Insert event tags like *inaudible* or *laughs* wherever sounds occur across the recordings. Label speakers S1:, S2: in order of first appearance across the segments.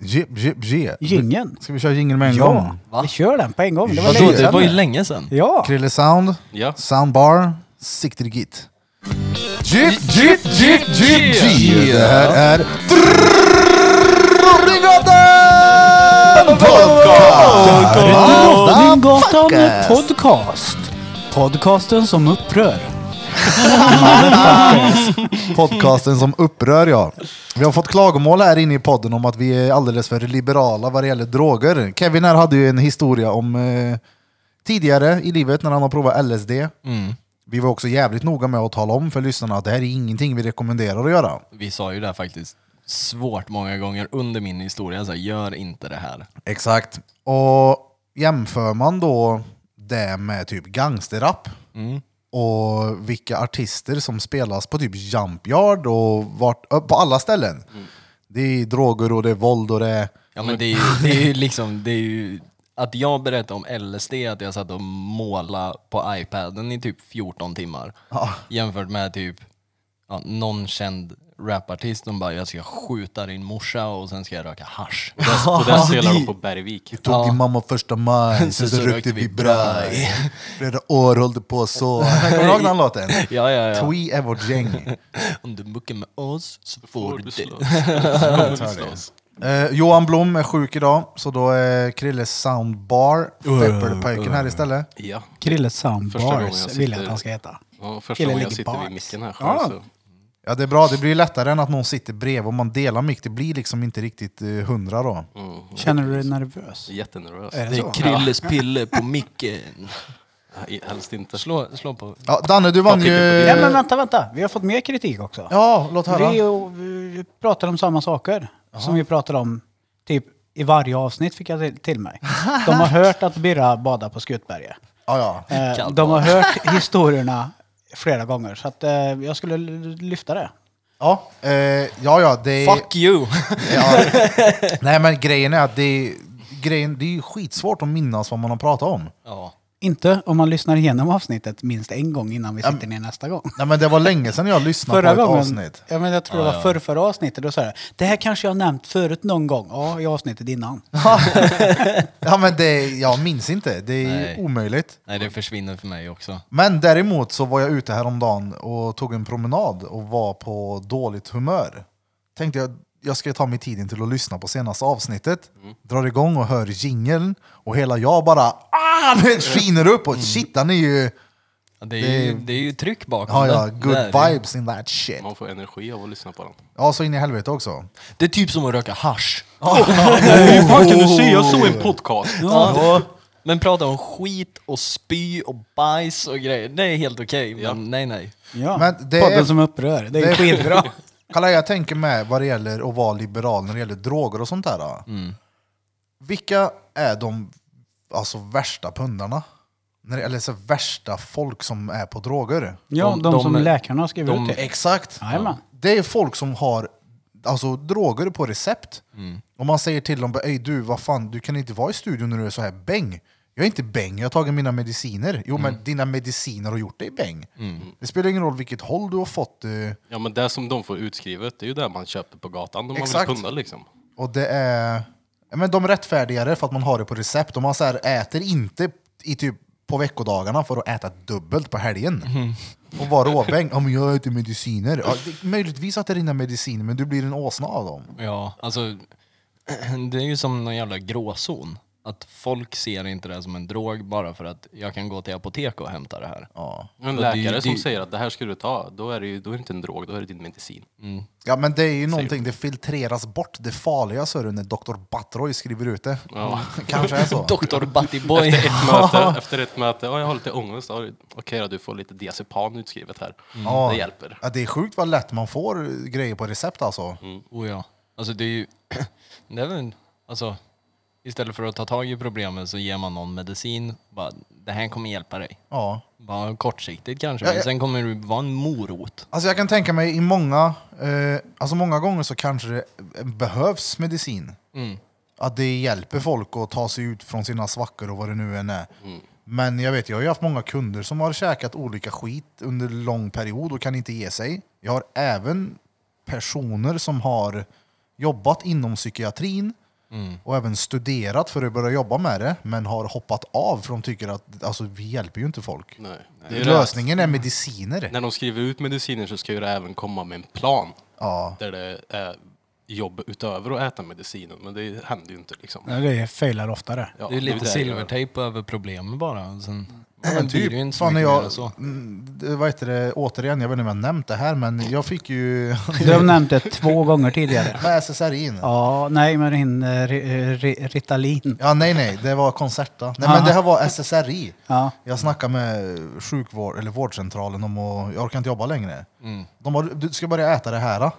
S1: Jip, jip, jip.
S2: Jingeln.
S1: Ska vi köra jingeln med en
S2: Ja,
S1: gång?
S3: Va?
S2: vi kör den på en gång. Det var
S1: Vadå?
S3: Vadå,
S2: länge
S3: det
S2: sedan.
S3: var ju länge sedan.
S2: Ja,
S1: Krille Sound,
S3: Ja.
S1: Soundbar, Sikter Git. Jip, jip, jip, jip, jip. Det här är Drottninggatan Podcast!
S3: Ah,
S2: Drottninggatan
S1: Motherfuckers.
S2: podcast. Podcasten som upprör.
S1: Podcasten som upprör ja. Vi har fått klagomål här inne i podden om att vi är alldeles för liberala vad det gäller droger. Kevin här hade ju en historia om eh, tidigare i livet när han har provat LSD. Vi var också jävligt noga med att tala om för lyssnarna att det här är ingenting vi rekommenderar att göra.
S3: Vi sa ju det här faktiskt svårt många gånger under min historia, så här, gör inte det här.
S1: Exakt. Och jämför man då det med typ gangsterrap och vilka artister som spelas på typ Jump Yard och vart, ö, på alla ställen. Det är droger och det är våld och det är...
S3: Ja men det är ju, det är ju liksom, det är ju, att jag berättade om LSD, att jag satt och målade på iPaden i typ 14 timmar. Jämfört med typ ja, någon känd rapartist som bara, jag ska skjuta din morsa och sen ska jag röka *laughs* hasch.
S4: Och där spelar de på Bergvik.
S1: Vi tog din mamma första maj, sen så rökte vi braj. *laughs* Flera år höll det på så. Kommer du ihåg den låten?
S3: Ja, ja, ja.
S1: Twee är vårt gäng.
S3: Om du muckar med oss så får
S4: Får
S3: du
S4: du
S3: det. *laughs*
S4: slåss. Kommer du slåss.
S1: Eh, Johan Blom är sjuk idag, så då är Krilles soundbar, Pepparpöjken här istället.
S4: Ja.
S2: Krille
S4: Första gången jag
S2: Soundbars
S4: sitter-
S2: vill jag att han ska heta.
S4: ja, första
S2: Killen
S4: gången jag
S2: ligger
S4: sitter
S2: bak.
S4: vid micken här själv
S2: Ja.
S4: så.
S1: Ja, det är bra. Det blir lättare än att någon sitter bredvid. Om man delar mick, det blir liksom inte riktigt eh, hundra då.
S4: Mm,
S2: Känner du dig nervös?
S4: jättenervös.
S2: Är
S3: Det
S2: så?
S3: är Krilles
S1: *laughs*
S3: pille på micken.
S4: Nej, Helst inte.
S3: Slå, slå på.
S1: Ja, Danne, du vann
S4: Jag tycker
S1: ju...
S4: på
S2: Ja, men vänta, vänta. Vi har fått mer kritik också.
S1: Ja, låt
S2: Vi,
S1: höra.
S2: och, vi pratar om samma saker som vi pratar om typ i varje avsnitt fick jag till- till mig. De har hört att Birra badar på Skutberget.
S1: Ja, ja.
S2: Eh,
S3: Kallt
S2: de har hört historierna flera gånger så att eh, jag skulle l- lyfta det.
S1: Ja, eh, ja, ja, det...
S3: Fuck you!
S2: *laughs*
S1: Ja. *laughs* Nej, men grejen är att det... Grejen, det är ju skitsvårt att minnas vad man har pratat om.
S3: *laughs* Ja.
S2: Inte om man lyssnar igenom avsnitet minst en gång innan vi sitter ner nästa gång.
S1: Nej, men det var länge sedan jag lyssnade
S2: Förra
S1: på ett
S2: gången, *laughs*
S1: avsnitt.
S2: Ja, men jag tror det var förra, förra avsnittet, då sa jag det här kanske jag har nämnt förut någon gång. Ja, i avsnittet innan.
S1: Ja, men det, jag minns inte. Det är
S3: Nej.
S1: omöjligt.
S3: Nej, det försvinner för mig också.
S1: Men däremot så var jag ute häromdagen och tog en promenad och var på dåligt humör. Tänkte jag, jag ska ta mig tiden till att lyssna på senaste avsnittet.
S3: Mm.
S1: Drar igång och hör jingeln och hela jag bara ah, *laughs* det skiner upp
S3: Mm.
S1: och shit, han är ju...
S3: Ja, Det är, ju,
S1: Det-
S3: det är ju tryck bakom
S1: Ja, ja,
S3: det. Det är det.
S1: good vibes in that shit.
S4: Man får energi av att lyssna på den.
S1: Ja, så in i helvete också.
S3: Det är typ som att röka hasch.
S4: Hur fan kan du säga? Jag såg en podcast.
S3: Ja. Men prata om skit och spy och bajs och grejer, det är helt okej. Men nej, nej.
S2: Ja,
S1: Men det
S2: podden
S1: är-
S2: som upprör. Det är
S1: det-
S2: ju
S1: *laughs*
S2: skitbra.
S1: Kalle, jag tänker med vad det gäller att vara liberal när det gäller droger och sånt där.
S2: Mm.
S1: Vilka är de alltså, värsta pundarna? När det- Eller så värsta folk som är på droger?
S2: Ja, de,
S3: De- de-
S2: som läkarna har skrivit
S3: de-
S2: ut till.
S1: Exakt.
S2: Jajamän.
S1: Det är folk som har alltså, droger på recept.
S2: Mm.
S1: Och man säger till dem, Ej, du, vad fan, du kan inte vara i studion när du är så här bäng. Jag är inte bäng, jag har tagit mina mediciner. Jo,
S2: Mm.
S1: men dina mediciner har gjort dig bäng. Det spelar ingen roll vilket håll du har fått. eh,
S4: Ja men det som de får utskrivet, det är ju det man köper på gatan om man vill
S1: Exakt.
S4: punda liksom.
S1: Och det är... ja, Men de rättfärdigar det för att man har det på recept. Och man så här, äter inte i typ på veckodagarna för att äta dubbelt på helgen. Och vara råbäng. Ja, men jag äter mediciner. Ja, det, möjligtvis att det är dina mediciner, men du blir en åsna av dem.
S3: Ja, alltså, *clears throat* det är ju som någon jävla gråzon. Att folk ser inte det som en drog bara för att jag kan gå till apotek och hämta det här.
S1: Ja.
S4: En
S3: det-
S4: läkare som
S3: det-
S4: säger att det här ska du ta, då är det ju då är det inte en drog, då är det din medicin.
S3: Mm.
S1: ja, men det är ju någonting, det filtreras bort. Det farliga så är det när Dr. Batroy skriver ut det.
S4: Ja.
S1: *laughs* Kanske
S3: *laughs*
S1: är så.
S3: Dr. Batty Boy.
S4: Ett möte, efter ett möte, ja, jag har lite ångest, ja, okej då, du får lite diazepan utskrivet här.
S3: Mm.
S1: Ja.
S4: Det hjälper.
S1: Ja, det är sjukt vad lätt man får eh, grejer på recept alltså.
S3: Oh ja. Alltså det är ju... *clears throat* Det är väl, en- alltså, istället för att ta tag i problemen så ger man någon medicin. Bara, det här kommer hjälpa dig.
S1: Ja.
S3: Bara kortsiktigt kanske,
S1: Ja,
S3: men
S1: ja.
S3: sen kommer det vara en morot.
S1: Alltså jag kan tänka mig i många, eh, alltså många gånger så kanske det behövs medicin.
S3: Mm.
S1: Att det hjälper folk att ta sig ut från sina svackor och vad det nu än är. Men jag vet, jag har ju haft många kunder som har käkat olika skit under lång period och kan inte ge sig. Jag har även personer som har jobbat inom psykiatrin och även studerat för att börja jobba med det men har hoppat av för de tycker att alltså, vi hjälper ju inte folk.
S4: Nej. Det är ju det att
S1: Lösningen är mediciner.
S4: när de skriver ut mediciner så ska ju det även komma med en plan
S1: Ja.
S4: där det är jobb utöver att äta medicinen. Men det händer ju inte liksom.
S2: Nej, det failar oftare.
S4: Ja,
S3: det är lite
S4: ju det jag gör.
S3: silvertejp över problem bara. och Sen,
S1: Ja,
S3: men
S1: men
S3: blir det ju
S1: typ,
S3: inte så
S1: fan när
S3: mycket mer
S1: jag,
S3: än så.
S1: mm, det- vad heter det, återigen, jag vet inte om jag har nämnt det här, men jag fick ju *laughs*
S2: Du har nämnt det två gånger tidigare.
S1: med SSRIn. Ja.
S2: Ja, nej men din eh, ri- ri- Ritalin.
S1: nej, nej, det var Concerta. Nej, men
S2: Aha.
S1: det här var SSRI.
S2: Ja.
S1: Jag snackade med sjukvård, eller vårdcentralen om att, jag orkar inte jobba längre.
S2: Mm.
S1: De bara, du ska börja äta det här. Då.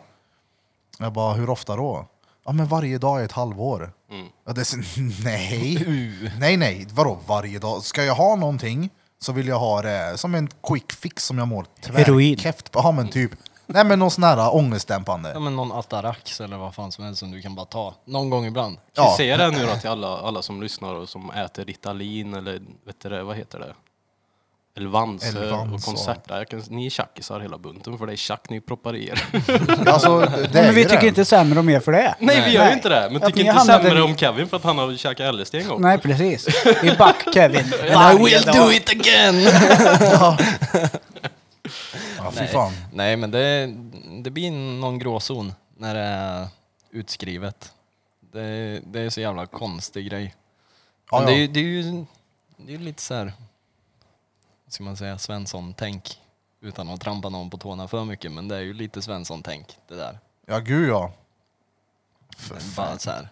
S1: Jag bara, hur ofta då? Ja, men varje dag i ett halvår.
S2: Mm.
S1: Ja, det, är så- *laughs*
S2: *laughs*
S1: nej.
S2: Uh.
S1: nej, nej, vadå varje dag? Ska jag ha någonting så vill jag ha det som en quick fix som jag mår
S2: Heroin.
S1: tvärkeft på. Ja, men typ. Nej, men någon sån här
S3: Ja,
S1: ångestdämpande.
S3: men någon Atarax eller vad fan som helst som du kan bara ta någon gång ibland.
S4: Kan
S1: Ja.
S4: vi säga det nu då till alla, alla som lyssnar och som äter Ritalin eller vet du, det, vad heter det? Elvans
S1: Elvans
S4: och
S1: och-
S4: Concerta. Jag kan, ni är tjackisar hela bunten för det är tjack ni proppar i er.
S1: Alltså, det
S2: Nej,
S1: är
S2: men vi
S1: ju
S2: tycker
S1: det.
S2: inte sämre om er för det.
S4: *laughs* Nej vi gör ju
S2: Nej.
S4: inte det. Men
S2: Att
S4: tycker
S2: ni
S4: inte
S2: hamnade-
S4: sämre om Kevin för att han har käkat LSD en gång.
S2: Nej, precis. I back
S4: *laughs*
S2: Kevin.
S3: I will do it again! *laughs*
S1: *laughs* Ja, fy
S3: Nej.
S1: fan.
S3: Nej, men det, det blir någon gråzon när det är utskrivet. Det, det är så jävla konstig grej.
S1: Ja,
S3: Men Det, är,
S1: ja.
S3: ju- det är ju det är lite så här, vad ska man säga, Svensson-tänk. Utan att trampa någon på tårna för mycket, men det är ju lite Svensson-tänk det där.
S1: ja, gud ja.
S3: Bara så här,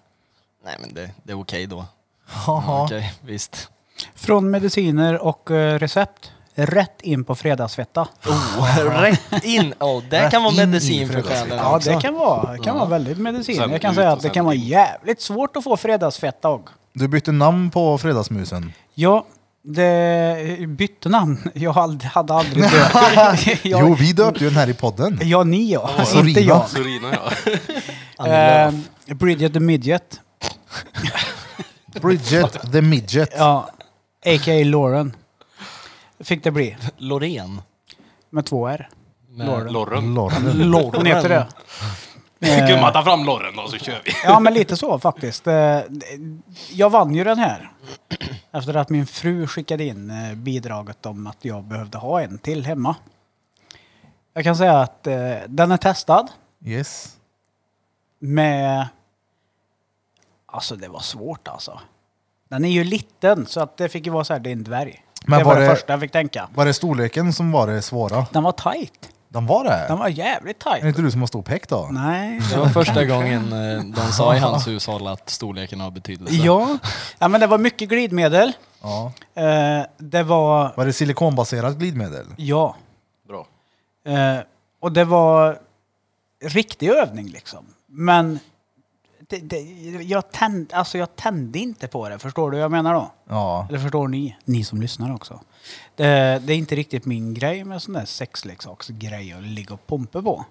S3: nej men det, det är okej då.
S1: Haha.
S3: Okej, visst.
S2: Från mediciner och eh, recept. Rätt in på fredagsfetta.
S3: Rätt in! Oh, det kan vara
S1: Rätt in i
S3: medicin för
S1: fredagsfrallan.
S3: själen
S2: Ja,
S3: också.
S2: det kan vara, det kan vara väldigt medicin.
S4: Sen
S2: Jag kan
S4: ut
S2: säga
S4: och
S2: att det
S4: sen
S2: kan vara
S4: in.
S2: jävligt svårt att få fredagsfetta. och-
S1: Du bytte namn på Fredagsmusen.
S2: Ja, det bytte namn. *laughs* Jag hade, hade aldrig
S4: *laughs*
S2: döpt. jag,
S1: Jo, vi döpte ju den här i podden.
S2: Ja, ni ja.
S1: Sorina.
S2: Inte jag.
S4: Sorina ja.
S2: Eh, Bridget the Midget.
S1: Bridget the Midget.
S2: Ja, a.k.a. Lauren. Fick det bli.
S3: Loreen.
S2: Med två R.
S3: Med
S4: Lorren.
S1: Lorre.
S3: Lorren.
S2: Hon heter det.
S4: Gumman ta fram Lorren då så kör vi.
S2: Ja, men lite så faktiskt. Eh, Jag vann ju den här. Efter att min fru skickade in eh, bidraget om att jag behövde ha en till hemma. Jag kan säga att eh, den är testad
S1: Yes.
S2: med... Alltså det var svårt alltså. Den är ju liten så att det fick ju vara så här, det är en dvärg.
S1: Men
S2: det var,
S1: var
S2: det
S1: det-
S2: första jag fick tänka.
S1: Var det storleken som var det svåra?
S2: Den var tajt.
S1: Den var det?
S2: Den var jävligt
S1: Är det
S2: tajt.
S1: inte du som har stor peck då?
S2: Nej,
S3: Det var första gången eh, de sa i hans hushåll att storleken har betydelse.
S2: Ja. ja, men det var mycket glidmedel.
S1: Ja.
S2: Eh, det var...
S1: Var det silikonbaserat glidmedel?
S2: Ja.
S4: Bra.
S2: Eh, och det var riktig övning liksom. Men det, det, jag, tänd, alltså jag tände inte på det, förstår du vad jag menar då?
S1: Ja.
S2: Eller förstår ni? Ni som lyssnar också. Det, det är inte riktigt min grej med sån där sexleksaksgrej att ligga och pumpa på.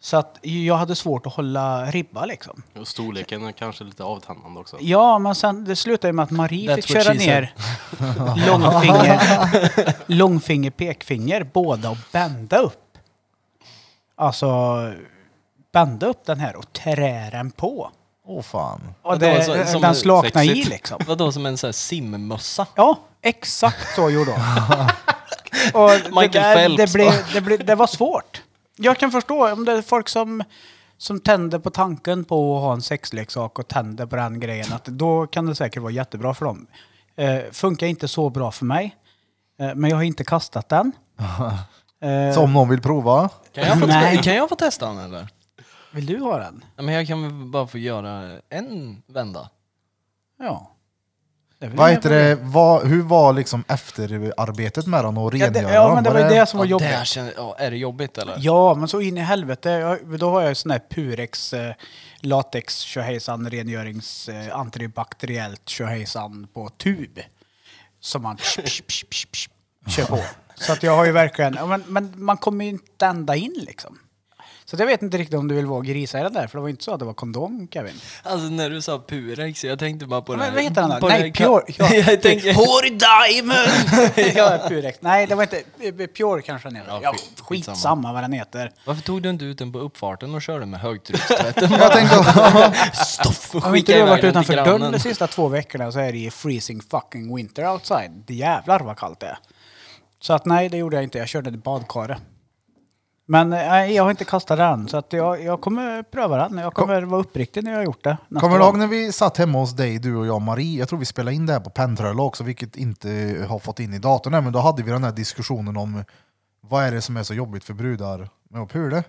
S2: Så att jag hade svårt att hålla ribba liksom.
S4: Och storleken är kanske lite avtändande också.
S2: Ja, men sen det slutade ju med att Marie
S3: That's
S2: fick
S3: what
S2: köra
S3: she said.
S2: ner *laughs* långfinger, långfinger, pekfinger, båda och bända upp. Alltså, bända upp den här och trä den på.
S1: Åh oh, fan.
S2: Och
S3: Det var
S2: det,
S3: så- som
S2: den slaknade i
S4: sexigt.
S2: liksom.
S3: Vadå som en sån här simmössa?
S2: Ja, exakt så
S3: *laughs*
S2: gjorde hon. och
S3: Michael
S2: det, där,
S3: Phelps.
S2: det, blev, det, blev, det var svårt. Jag kan förstå om det är folk som, som tänder på tanken på att ha en sexleksak och tänder på den grejen. Att då kan det säkert vara jättebra för dem. Eh, funkar inte så bra för mig. Eh, men jag har inte kastat
S3: *laughs*
S2: den. Eh,
S1: Så om någon vill prova?
S3: Kan jag få,
S2: Nej.
S3: kan jag få testa den eller?
S2: Vill du ha den?
S3: Ja, Men jag kan väl bara få göra en vända.
S2: Ja. Det är väl
S1: Vad
S2: inga
S1: heter
S2: problem.
S1: det? Vad, hur var liksom efterarbetet med den och
S2: Ja, det,
S1: rengöra
S2: ja, men det
S1: den?
S2: var ju det som var
S3: Ja,
S2: jobbigt.
S3: där känner, ja, är det jobbigt eller?
S2: Ja, men så in i helvete. Jag, då har jag ju sån här Purex, eh, latex, tjohejsan, rengörings, eh, antibakteriellt tjohejsan på tub. Som man psh, psh, psh, psh, psh, kör på. Så att jag har ju verkligen, ja, men, men man kommer ju inte ända in liksom. Så att jag vet inte riktigt om du vill vara grisägare där, för det var ju inte så att det var kondom, Kevin.
S3: Alltså när du sa Purex, jag tänkte bara på
S2: Men
S3: det här.
S2: vad heter han då?
S3: på det
S2: Nej,
S3: här *laughs*
S2: Pure-
S3: ka-
S2: ja.
S3: jag tänker...
S2: Pure
S3: *laughs*
S2: Diamond! ja, Purex. Nej, det var inte... eh, Pure kanske han heter.
S3: Ja,
S2: Ja,
S3: skit-
S2: skitsamma vad den heter.
S3: Varför tog du inte ut den på uppfarten
S2: *laughs*
S3: och körde med högtryckstvätten?
S1: Jag tänkte, *laughs*
S3: Stoff och
S2: Har inte
S3: skicka
S2: du
S3: iväg
S2: varit
S3: den till
S2: utanför dörren
S3: grannen.
S2: de sista två veckorna så är det ju freezing fucking winter outside. Det jävlar vad kallt det är. Så att nej, det gjorde jag inte. Jag körde ett badkare. Men eh, nej, jag har inte kastat den, så att jag, jag kommer pröva den. Jag kommer vara uppriktig när jag har gjort det. nästa
S1: kommer du
S2: gång.
S1: ihåg när vi satt hemma hos dig, du och jag och Marie? Jag tror vi spelade in det här på Pentröla också, vilket inte har fått in i datorn än, men då hade vi den här diskussionen om vad är det som är så jobbigt för brudar med att pula?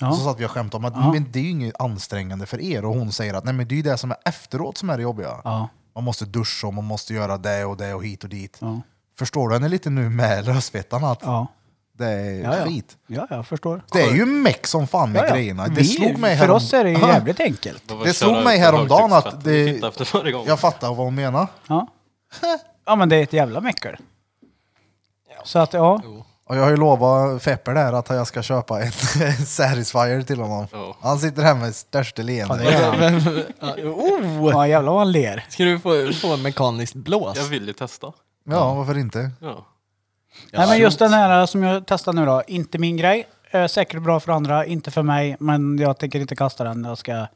S2: Ja.
S1: Så satt vi och skämtade om att
S2: Ja.
S1: men det är ju inget ansträngande för er. Och hon säger att nej, men det är ju det som är efteråt som är det jobbiga.
S2: Ja,
S1: Man måste duscha och man måste göra det och det och hit och dit.
S2: ja,
S1: Förstår du henne lite nu med rödsvettarna? Att
S2: ja.
S1: det är
S2: Ja, ja.
S1: skit.
S2: Ja, jag förstår.
S1: Det är ju meck som fan med grejerna. Det
S2: Vi,
S1: slog mig
S2: för
S1: härom-
S2: oss är det ju
S1: Ja.
S2: jävligt enkelt.
S4: var
S1: Det slog
S4: köra
S1: mig
S4: ut
S1: häromdagen att
S4: högtryckstvätten vi
S1: det-
S4: tittade efter varje gång.
S1: Jag fattar vad hon menar.
S2: Ja. ja, men det är ett jävla mäckel. Så att ja,
S1: Och jag har ju lovat Fepper där att jag ska köpa en *laughs* Satisfyer till honom.
S4: Ja.
S1: Han sitter här med största
S2: *laughs* ja det
S1: leende.
S3: *laughs*
S2: är han.
S3: Ja, oh!
S2: Ja, jävlar vad han ler.
S3: Ska du få, få mekaniskt blås?
S4: Jag vill ju testa.
S1: Ja, varför inte?
S4: Ja.
S2: Nej, men
S3: Ja.
S2: just den här eh, som jag testar nu då, inte min grej. Eh, Säkert bra för andra, inte för mig, men jag tänker inte kasta den. Jag ska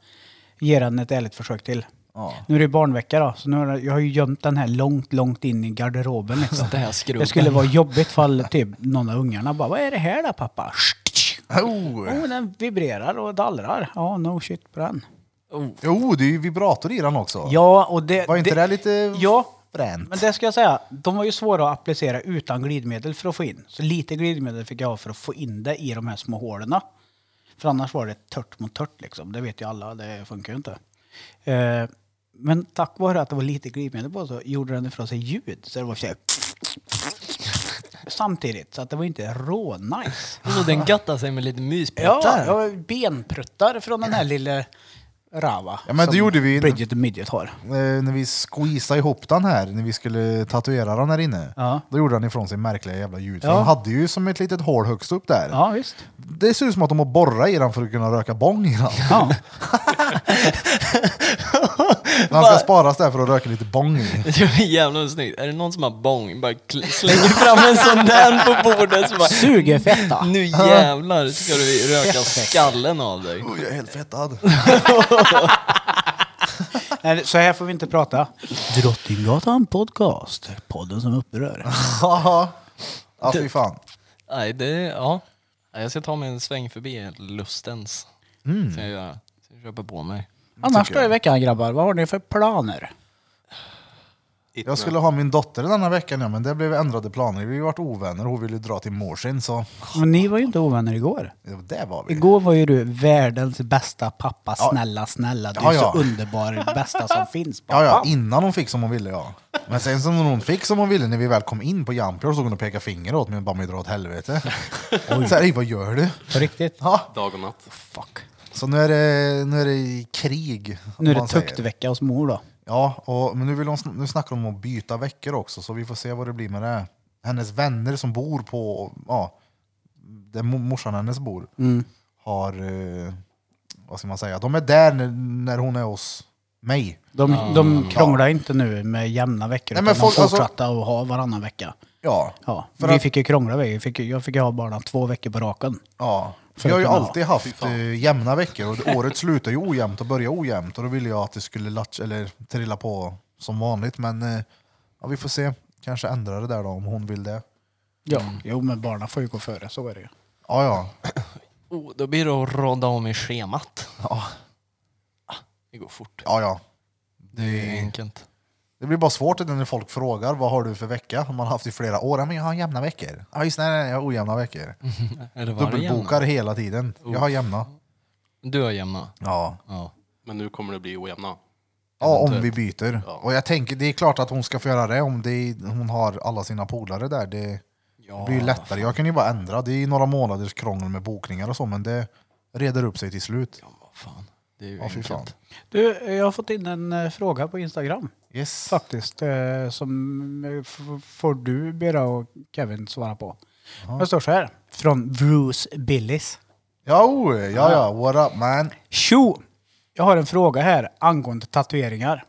S2: ge den ett ärligt försök till.
S1: Ja.
S2: Nu är det ju barnvecka då, så nu har jag, jag har ju gömt den här långt, långt in i garderoben. Liksom.
S3: Det här skrubben.
S2: Det skulle vara jobbigt fall typ någon av ungarna bara, vad är det här då pappa?
S1: Oh.
S2: Oh, den vibrerar och dallrar. Ja, no shit på den.
S1: Jo, oh, det är ju vibrator i den också.
S2: Ja, och det...
S1: Var inte det, lite
S2: Ja,
S1: fränt?
S2: Men det ska jag säga, de var ju svåra att applicera utan glidmedel för att få in. Så lite glidmedel fick jag ha för att få in det i de här små hålen. För annars var det tört mot tört liksom. Det vet ju alla, det funkar ju inte. Eh, men tack vare att det var lite glidmedel på så gjorde den ifrån sig ljud. Så det var så här, *laughs* samtidigt, så att det var inte rå-nice.
S3: Och Alltså, den gattar sig med lite
S2: Ja,
S3: myspettar.
S2: jag har benpruttar från den här lilla Rava.
S1: Ja, men det
S2: som
S1: gjorde vi ju-
S2: Bridget och Midget har.
S1: eh, när vi squeezade ihop den här, när vi skulle tatuera den här inne,
S2: Ja.
S1: då gjorde han ifrån sig märkliga jävla ljud. För
S2: Ja.
S1: han hade ju som ett litet hål högst upp där.
S2: Ja, visst.
S1: Det ser ut som att de har borrat i den för att kunna röka bong i den. *laughs*
S2: Ja.
S1: Den ska sparas där för att röka lite bong i.
S3: *laughs* Det var jävla snyggt. Är det någon som har bong? Bara kl- slänger fram en sån där på bordet så bara...
S2: Suger fetta.
S3: Nu jävlar ska du röka skallen av dig.
S1: Oj, jag är helt fettad. *laughs*
S2: Nej, så här får vi inte prata. Drottninggatan podcast, podden som upprör.
S1: ja, fy fan.
S3: Nej, det... Ja. Nej, Jag ska ta mig en sväng förbi Lustens. Ska jag göra. Ska jag köpa på mig.
S2: Annars då i veckan grabbar, vad har ni för planer?
S4: It
S1: Jag skulle ha min dotter den här veckan, ja, men det blev ändrade planer. Vi vart ovänner och hon ville dra till Morsin, så
S2: Men ni var ju inte ovänner igår.
S1: Jo, det var vi.
S2: Igår var ju du världens bästa pappa, snälla snälla. Du är
S1: Ja, ja.
S2: så underbar, bästa som finns pappa.
S1: Ja, ja, innan hon fick som hon ville, ja. Men sen som hon fick som hon ville, när vi väl kom in på Jampior såg hon och pekade finger åt mig och bara, "Men dra åt helvete.
S2: *laughs*
S1: Så här, "Ey, vad gör du?
S2: På riktigt.
S1: Ja,
S4: Dag och natt.
S2: Fuck.
S1: så nu är det, nu är det krig. om
S2: Nu är det
S1: man säger.
S2: tuktvecka hos mor då.
S1: Ja, och, men nu, vill hon, sn- nu snackar de om att byta veckor också, så vi får se vad det blir med det. Hennes vänner som bor på, ja, där mo- morsan hennes bor, har, eh, vad ska man säga, de är där när, när hon är hos mig.
S2: De, de krånglar inte nu med jämna veckor,
S1: Nej, men
S2: utan
S1: folk-
S2: de
S1: alltså-
S2: fortsatte att ha varannan vecka.
S1: Ja,
S2: Ja,
S1: För
S2: vi
S1: att-
S2: fick ju krångla, vi fick, ju- jag fick ju ha barnen två veckor på raken.
S1: Ja.
S2: För
S1: Jag har ju
S2: att kunna-
S1: alltid haft eh, jämna veckor och året slutar ju ojämnt och börjar ojämnt och då ville jag att det skulle latch, eller trilla på som vanligt men eh, ja, vi får se. Kanske ändra det där då om hon vill det.
S2: Ja, Mm. jo men barnen får ju gå före, så är det ju.
S1: Ja, ja.
S3: Oh, då blir det att rodda om i schemat. Ah,
S1: Ja,
S3: Det går fort.
S1: ja. ja.
S3: Det är enkelt.
S1: Det blir bara svårt när folk frågar vad har du för vecka? Om Man har haft i flera år. Ja, men jag har jämna veckor. Ja, just det, nej, nej, jag har ojämna veckor.
S3: Eller var det
S1: Dubbelbokar hela tiden. Jag har jämna.
S3: jämna? Du har jämna?
S1: Ja.
S3: Ja.
S4: Men nu kommer det bli ojämna.
S1: Äh, Ja, om vi
S3: Eventuellt.
S1: byter.
S4: Ja.
S1: Och jag tänker, det är klart att hon ska få göra det om det är, hon har alla sina polare där. Det,
S3: ja.
S1: Det blir ju lättare. Jag kan ju bara ändra. Det är ju några månaders krångel med bokningar och så, men det reder upp sig till slut.
S3: Vad fan. Det är ju
S1: Ja, fy fan.
S3: enkelt.
S2: Du, jag har fått in en eh, fråga på Instagram
S1: Yes.
S2: faktiskt. Eh, som eh, f- får du, Bera och Kevin svara på. Det står så här. Från Bruce Billis.
S1: Jo, ja, ja, what up man?
S2: Tjo! Jag har en fråga här angående tatueringar.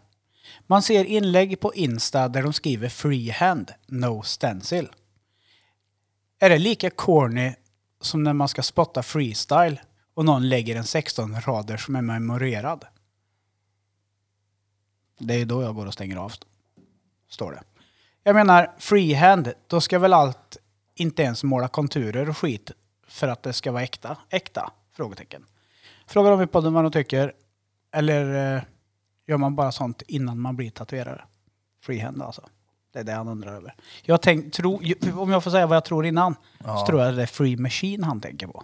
S2: Man ser inlägg på Insta där de skriver freehand, no stencil. Är det lika corny som när man ska spotta freestyle och någon lägger en 16-rader som är memorerad? Det är då jag går och stänger av, står det. Jag menar, freehand, då ska väl allt inte ens måla konturer och skit för att det ska vara äkta? Äkta? Frågetecken. Frågar dem i podden vad de tycker. Eller eh, gör man bara sånt innan man blir tatuerare? Freehand alltså. Det är det han undrar över. Jag tänk, tro, om jag får säga vad jag tror innan, så tror jag det är Free Machine han tänker på.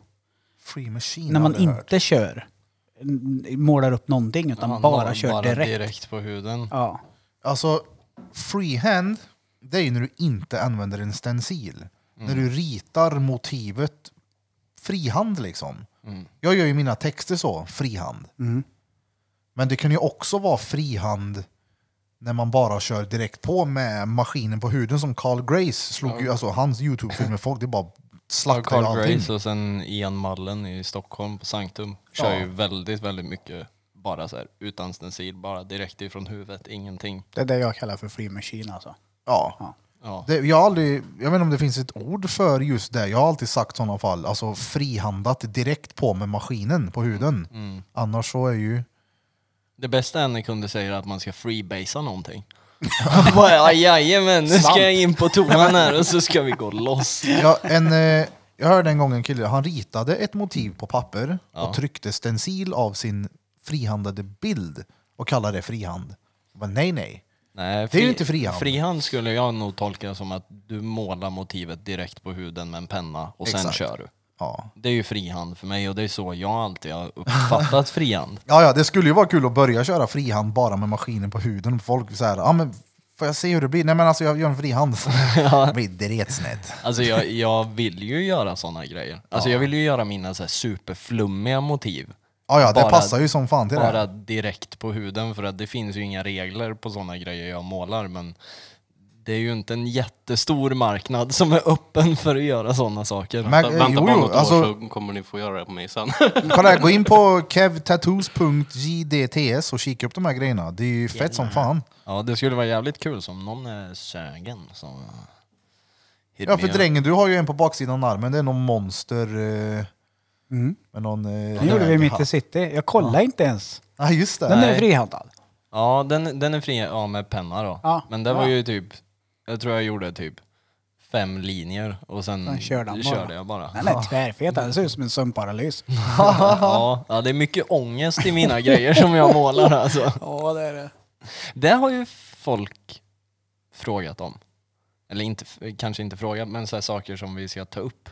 S1: Free machine
S2: När man
S1: aldrig hört.
S2: inte kör, n- målar upp någonting, utan
S3: Han har
S2: bara kör
S3: bara
S2: direkt.
S3: direkt på huden.
S2: Ja.
S1: Alltså, freehand, det är ju när du inte använder en stencil. När du ritar motivet frihand liksom.
S3: Mm.
S1: Jag gör ju mina texter så, frihand. Men det kan ju också vara frihand när man bara kör direkt på med maskinen på huden som Carl Grace slog ju, alltså hans YouTube-filmer, folk det bara slaktar ju
S3: Carl
S1: allting.
S3: Grace och sen Ian Mullen i Stockholm på Sanktum kör
S1: Ja.
S3: ju väldigt, väldigt mycket bara så här utan stencil, bara direkt ifrån huvudet, ingenting.
S2: Det är det jag kallar för Free Machine alltså.
S1: Ja.
S3: Ja.
S1: Det, jag, har aldrig, jag vet inte om det finns ett ord för just det. Jag har alltid sagt sådana fall. Alltså frihandat direkt på med maskinen på huden.
S3: Mm.
S1: Annars så är ju...
S3: Det bästa är när kunder säger att man ska freebasea någonting.
S1: *laughs*
S3: Bara, "Ja, Jajamän, nu ska jag in på toan här och så ska vi
S1: *laughs*
S3: gå loss.
S1: Jag, en, eh, jag hörde en gång en kille, han ritade ett motiv på papper
S3: Ja.
S1: och tryckte stencil av sin frihandade bild och kallade det frihand. Men nej, nej.
S3: Nej,
S1: Det är ju inte frihand.
S3: Frihand skulle jag nog tolka som att du målar motivet direkt på huden med en penna och sen
S1: Exakt.
S3: kör du.
S1: Ja.
S3: Det är ju frihand för mig och det är så jag alltid har
S1: *laughs*
S3: uppfattat frihand.
S1: Ja, ja, det skulle ju vara kul att börja köra frihand bara med maskinen på huden. Folk så här, ja men får jag se hur det blir? Nej men alltså jag gör en
S3: *laughs*
S1: frihand. Det blir dretsnett.
S3: Alltså jag, jag vill ju göra såna grejer. Alltså jag vill ju göra mina så här superflummiga motiv.
S1: Ja, ja, det
S3: Bara-
S1: passar ju som fan till det.
S3: Bara direkt på huden för att det finns ju inga regler på såna grejer jag målar men det är ju inte en jättestor marknad som är öppen för att göra såna saker.
S1: Men, eh,
S4: Vänta
S1: jo,
S4: bara
S1: jo,
S4: något år
S1: alltså,
S4: så kommer ni få göra det på mig sen. *laughs*
S1: kolla här, gå in på kevtattoos.jdts och kika upp de här grejerna. Det är ju fett som fan.
S3: Ja, det skulle vara jävligt kul som någon är sögen. Så... Hit
S1: Ja,
S3: me
S1: för
S3: up.
S1: drängen, du har ju en på baksidan av armen. Det är någon monster... Eh, Med någon... Eh,
S2: Mm. Den gjorde vi
S1: hög
S2: mitt i
S1: hatt.
S2: city. Jag kollade inte ens.
S1: Ja, just det.
S2: Den är
S3: Nej.
S2: frihandad.
S3: Ja, den, den är fri ja, med penna då.
S2: Ja,
S3: Men det var
S2: ja.
S3: ju typ, jag tror jag gjorde typ fem linjer och sen
S2: Den körde han bara.
S3: körde jag bara.
S2: Den är tvärfet. Den ser ut som en sömnparalys.
S3: ja, ja, det är mycket ångest i mina grejer som jag målar alltså.
S2: Ja, det är det.
S3: Det har ju folk frågat om. Eller inte, kanske inte frågat, men så här saker som vi ska ta upp.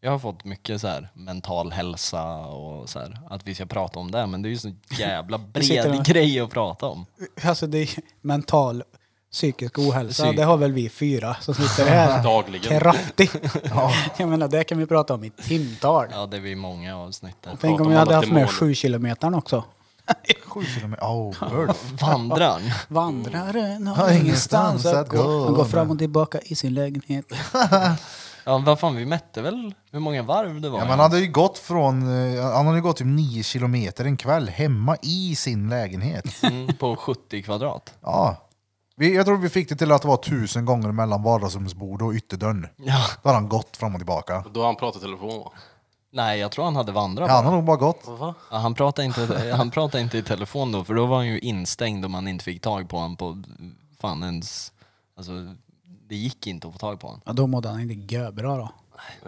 S3: Jag har fått mycket så här mental hälsa och så här, att vi ska prata om det, men det är ju så *laughs* jävla
S2: sitter
S3: bred
S2: där.
S3: grej att prata om.
S2: Alltså det är mental psykisk ohälsa,
S3: Psyk-
S2: det har väl vi fyra som sitter här.
S4: Dagligen.
S2: Kraftigt. Jag menar, det kan vi prata om i timtal.
S3: Ja, det blir många avsnitt där.
S2: Tänk om
S4: om
S2: jag hade
S4: alla
S2: haft med
S4: demoner.
S2: sju kilometern också.
S1: Sju kilometer.
S2: *laughs*
S1: Oh, Ulf.
S3: Vandrar.
S2: Vandraren
S1: Har
S2: har
S1: ingenstans
S2: ingenstans
S1: att
S2: att
S1: gå.
S2: gå. Han går fram och tillbaka i sin lägenhet.
S3: Ja, vad fan, vi mätte väl hur många varv det var?
S1: Ja, man hade ju gått från... eh, Han hade ju gått typ nio kilometer en kväll hemma i sin lägenhet.
S3: Mm, på 70 kvadrat.
S1: Ja. Vi, jag tror vi fick det till att det var tusen gånger mellan vardagsrumsbord och ytterdörren.
S3: Ja.
S1: Då har han gått fram och tillbaka.
S4: Då har han pratat telefon va?
S3: Nej, jag tror han hade vandrat.
S1: Ja, han har nog bara gått.
S4: Va?
S3: Ja, han, pratade inte, han pratade inte i telefon då, för då var han ju instängd och man inte fick tag på honom på fan ens... Alltså, det gick inte att få tag på honom.
S2: Ja, då mådde han inte göbra då.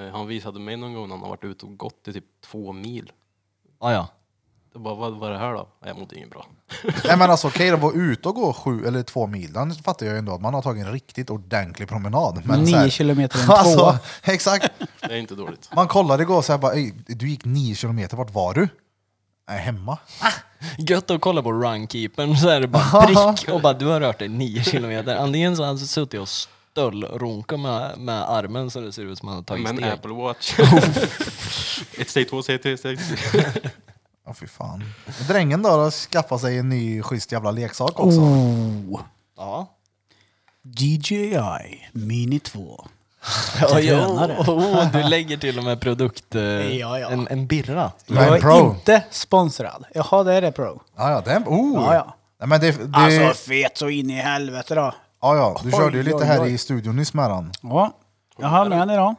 S4: Eh, Han visade mig någon gång när han har varit ute och gått i typ två mil.
S3: Ah, ja.
S4: Jag bara, vad var det här då? Nej, Jag mådde inget bra.
S1: Nej men alltså okej, att vara ute och gå sju eller två mil, den fattar jag ju ändå att man har tagit en riktigt ordentlig promenad. Men så här- *laughs*
S2: Nio kilometer i en tvåa.
S1: Alltså, exakt.
S4: Det är
S1: *laughs*
S4: inte dåligt.
S1: Man kollade igår så här bara, "Ey, du gick nio kilometer, vart var du? Äh, hemma.
S3: Gött att kolla på runkeepern så är
S2: *laughs*
S3: det bara prick och bara du har rört dig nio kilometer. Antingen så har han suttit och stöllronkat med, med armen så det ser ut som att han har tagit
S4: Men
S3: steg.
S4: Apple
S1: *laughs*
S4: Watch. ett steg två, steg tre, steg
S1: Ja fy fan. Drängen då, då skaffade sig en ny schysst jävla leksak också.
S2: Oh.
S3: Ja.
S2: DJI Mini 2.
S3: Ja, ja,
S2: drönare.
S3: oh, oh, du lägger till och med produkt... eh,
S2: Ja, ja.
S3: En, en birra.
S1: Men
S2: Jag är
S1: pro.
S2: inte sponsrad. Jaha, det är det pro.
S1: Ja, ja, den, oh.
S2: Ja, ja.
S1: Nej, men det, det,
S2: Alltså fet så in i helvete då.
S1: ja, ja, du körde ju
S2: Oj,
S1: lite
S2: oj,
S1: här
S2: oj.
S1: i studion nyss med han.
S2: Ja, jag höll med dig då.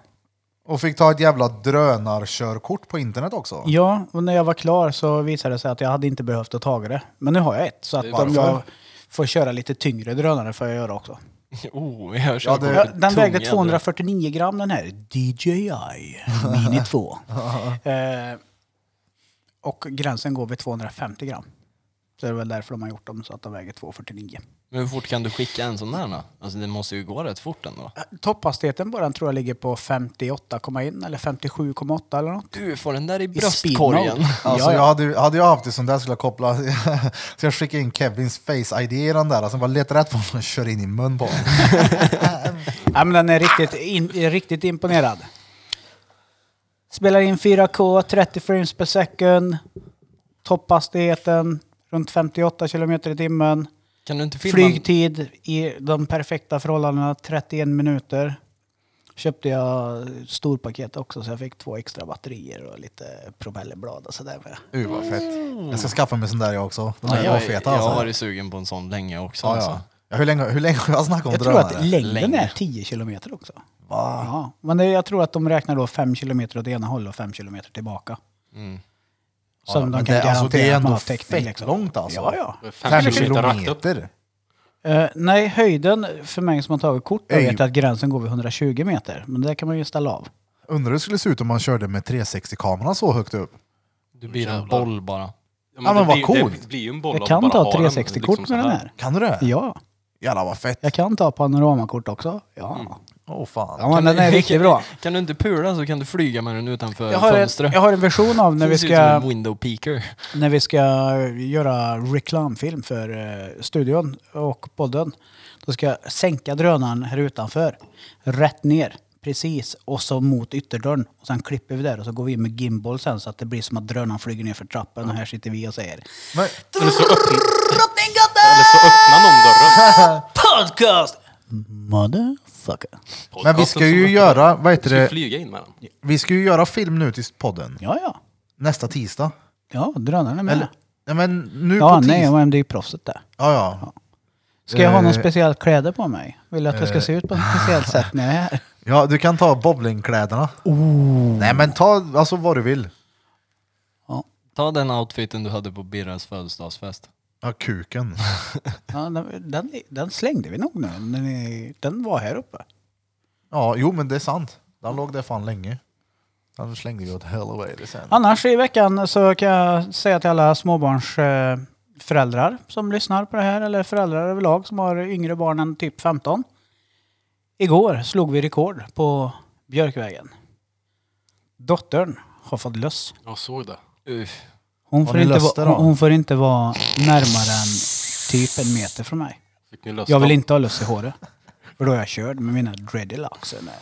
S1: Och fick ta ett jävla drönarkörkort på internet också.
S2: Ja, och när jag var klar så visade det sig att jag hade inte behövt att ta det. Men nu har jag ett, så att om jag får köra lite tyngre drönare får jag göra också.
S3: Oh, jag kör
S1: Ja,
S3: ja,
S1: det-
S2: Ja, den vägde 249 gram den här. DJI Mini 2.
S1: *laughs*
S2: eh, och gränsen går vid 250 gram. Så det är väl därför de har gjort dem så att de väger 249.
S3: Men hur fort kan du skicka en sån där då? Alltså det måste ju gå rätt fort ändå.
S2: Eh, Topphastigheten på den tror jag ligger på 58,1 eller 57,8 eller något.
S3: Du får den där i
S2: I speed
S3: bröstkorgen.
S2: mode.
S1: Alltså,
S2: ja,
S1: Jag
S2: ja.
S1: hade, ju- hade jag haft det som där skulle jag koppla, *laughs* så jag skickade in Kevins face-id i den där, alltså bara letar rätt på honom och kör in i mun på honom.
S2: ja, men den är riktigt, in, är riktigt imponerad. Spelar in 4K, 30 frames per second. Topphastigheten runt 58 kilometer i timmen.
S3: Kan du inte filma?
S2: Flygtid i de perfekta förhållandena, 31 minuter. Köpte jag storpaket också så jag fick två extra batterier och lite propellerblad och sådär med.
S1: Uh, vad fett.
S2: Mm.
S1: Jag ska skaffa mig sån där jag också. De
S3: Ja,
S1: där var
S3: jag,
S1: feta
S3: jag har
S1: alltså.
S3: varit sugen på en sån länge också.
S1: Ja,
S3: alltså.
S1: ja. Ja, hur, länge, hur länge har jag snackat om
S2: Jag tror
S1: drönare?
S2: att längden
S3: Längre.
S2: är 10 kilometer också. Ja, men det, jag tror att de räknar då 5 kilometer åt ena hållet och 5 kilometer tillbaka. Som
S1: Mm. men
S2: de kan
S1: det,
S2: garantera
S1: alltså, det är
S2: att man
S1: ändå
S2: har täckning.
S1: fett långt alltså.
S2: Ja,
S1: Fem
S2: ja.
S4: Fem kilometer rakt upp.
S1: kilometer?
S2: Eh, nej, höjden för mig som har tagit kort, jag
S1: Ej.
S2: vet att gränsen går vid 120 meter. Men det kan man ju ställa av.
S1: Undrar hur det skulle se ut om man körde med 360-kameran så högt upp.
S3: Du blir en
S4: Jävlar.
S3: boll bara.
S1: Ja, men
S4: det
S1: vad
S4: blir-
S1: coolt.
S4: Det blir ju en boll
S2: Jag
S4: av
S2: kan
S4: bara
S2: ta
S4: ha den,
S2: 360-kort
S4: liksom
S2: med
S4: så
S2: den
S4: här.
S2: här.
S1: Kan du det?
S2: Ja.
S1: Jävlar vad fett.
S2: Jag kan ta panoramakort också. Ja,
S4: Mm.
S1: Åh fan.
S2: ja men den är riktigt
S4: *laughs*
S2: bra.
S3: *laughs* Kan du inte pula så kan du flyga med den utanför
S2: Jag har, en,
S3: fönstret.
S2: jag har en version av när
S3: Det
S2: vi,
S3: ser ut som
S2: ska,
S3: en window peaker.
S2: när vi ska göra reklamfilm för eh, studion och podden. Då ska jag sänka drönaren här utanför. Rätt ner. Precis. Och så mot ytterdörren. Och sen klipper vi där och så går vi in med gimbal sen så att det blir som att drönaren flyger ner för trappen och här sitter vi och säger
S1: Men,
S4: Eller så, öppna, eller så öppnar någon dörren.
S2: Podcast! Motherfucker.
S1: *laughs* men vi ska ju göra, vad heter
S4: Vi ska
S1: det?
S4: flyga in med den.
S1: Vi ska ju göra film nu till podden.
S2: Ja, ja.
S1: Nästa tisdag.
S2: Ja, drönaren är med.
S1: Eller, nej men nu
S2: ja,
S1: på tisdag.
S2: nej, men det är ju proffset där.
S1: Ja, ja.
S2: Ska jag ha någon
S1: Eh.
S2: speciell kläder på mig? Vill jag att jag ska se ut på ett speciellt
S1: *laughs*
S2: sätt när jag är här?
S1: ja, du kan ta bowlingkläderna. Nej men ta alltså vad du vill.
S3: Ta den outfiten du hade på Birras födelsedagsfest.
S1: Ja, kuken.
S2: Ja, den, den, den slängde vi nog nu. Den, är, den var här uppe.
S1: Ja, jo men det är sant. Den låg där fan länge. Den slängde vi åt helvete sen.
S2: Annars i veckan så kan jag säga till alla småbarns eh, föräldrar som lyssnar på det här eller föräldrar överlag som har yngre barn än typ 15. Igår slog vi rekord på Björkvägen. Dottern har fått löss.
S4: Jag såg det.
S3: Uff.
S2: Hon
S1: Har
S2: får,
S1: ni
S2: inte
S1: löss det
S2: va,
S1: då?
S2: hon, hon får inte vara närmare än typ en meter från mig.
S4: Fick ni löst
S2: Jag vill
S4: dem?
S2: inte ha löss i håret. För då är jag körd med mina dreadlocks. eller-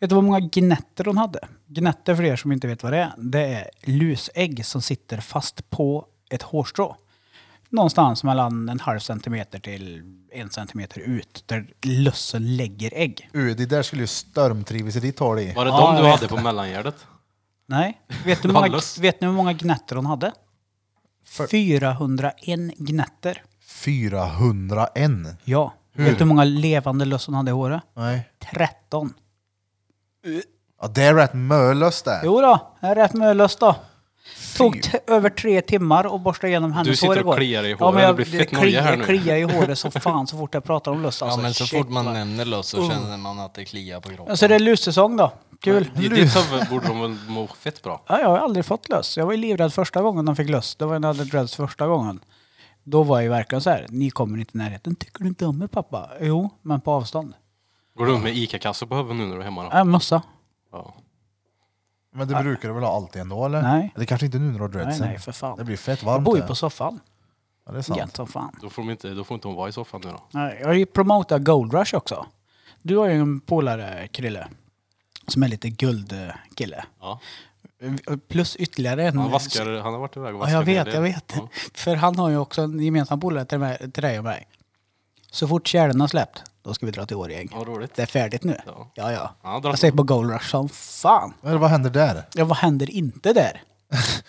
S2: Vet du vad många gnetter hon hade? Gnetter för er som inte vet vad det är. Det är lusägg som sitter fast på ett hårstrå. Någonstans mellan en halv centimeter till en centimeter ut. Där lössen lägger ägg.
S1: Uh, det där skulle ju stormtrivas i ditt hål i.
S4: Var det
S2: Ja,
S4: de
S2: jag
S4: du
S2: vet
S4: hade på mellangärdet?
S2: Nej. Vet ni
S4: Det
S2: hur
S4: var
S2: många,
S4: löss.
S2: vet ni hur många gnetter hon hade? 401 gnetter.
S1: 401.
S2: Ja. Vet du hur många levande löss hon hade i håret?
S1: Nej.
S2: 13.
S1: Ja, det är rätt mölöst det.
S2: Jo då, jag är rätt mölöst då. Tog t- över tre timmar och borsta igenom hennes
S4: Du sitter
S2: hår
S4: och
S2: igår.
S4: kliar i håret,
S2: men jag,
S4: det blir fett noja
S2: kliar-
S4: här nu.
S2: kliar i håret
S4: *laughs*
S2: så fan så fort jag pratar om löst.
S3: Ja,
S2: Alltså,
S3: men så
S2: shit,
S3: fort man
S2: vad- Oh.
S3: nämner löss så känner man att det kliar på kroppen.
S2: Alltså det är lussäsong då. Kul.
S4: I ditt huvud borde de väl må fett bra.
S2: Ja, jag har aldrig fått löss. Jag var ju livrädd första gången de fick löss. Det var när jag hade dreads första gången. Då var jag ju verkligen så här, ni kommer inte i närheten. Tycker du inte om mig pappa? Jo, men på avstånd.
S4: Går du runt med ICA-kassor på huvudet nu när du är hemma då?
S2: Äh, mössa.
S4: Ja.
S1: Men det brukar du väl ha alltid ändå eller?
S2: Ah. Nej.
S1: Det kanske inte nu när du har
S2: Nej,
S1: dreadsen.
S2: nej, för fan.
S1: Det blir fett
S2: jag
S1: varmt
S2: bor ju
S1: det.
S2: på soffan.
S1: Ja, det är sant.
S2: Gött som fan.
S4: Då får, de inte, då får inte hon vara i soffan nu då.
S2: Nej, Jag har ju promotat Gold Rush också. Du har ju en polare, Krille, som är lite guldkille.
S4: Ja.
S2: Plus ytterligare en...
S4: Han, vaskar, han har varit iväg och
S2: Ja,
S4: vaskat.
S2: jag
S4: en
S2: vet,
S4: hel del.
S2: jag vet. *laughs*
S4: Ja.
S2: För han har ju också en gemensam polare till, mig, till dig och mig. Så fort tjälen har släppt, Då ska vi dra till Årjäng.
S4: Vad roligt.
S2: Det är färdigt nu.
S4: Ja.
S2: Ja, ja.
S4: Ja, dra
S2: Jag ser på Gold Rush som fan.
S1: Eller vad händer där?
S2: Ja, vad händer inte
S4: *laughs*
S2: där?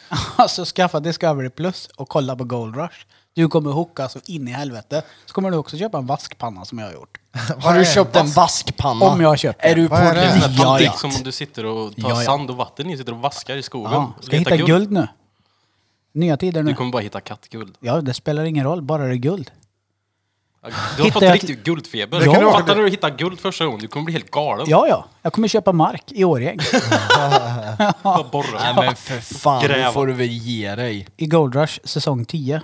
S2: *laughs* alltså skaffa Discovery Plus och kolla på Gold Rush. Du kommer hooka så in i helvete. Så kommer du också köpa en vaskpanna som jag har gjort.
S3: Har du köpt en vaskpanna?
S2: Om jag har köpt
S3: Är
S2: den.
S3: du
S1: Vad är det?
S4: Det är sån
S3: portugis?
S4: där
S3: Ja,
S4: taktik
S3: ja.
S4: som om du sitter och
S2: Ja,
S4: tar
S2: ja.
S4: sand och vatten i, sitter och vaskar i skogen.
S2: Ja, ska
S4: Letar
S2: hitta guld. nu. Nya tider nu.
S4: Du kommer bara hitta kattguld.
S2: Ja, det spelar ingen roll, bara det är guld.
S4: Du har
S2: Hittar
S4: fått
S2: jag-
S4: riktigt guldfeber.
S1: Det kan du-
S4: Fattar du när du hittar guld första gången? Du kommer bli helt galen.
S2: Ja, ja. Jag kommer köpa mark i *laughs* Årjäng.
S4: Bara borra.
S3: *laughs* Nej men för fan, nu
S4: Gräva.
S3: får du väl ge dig.
S2: I Gold Rush säsong 10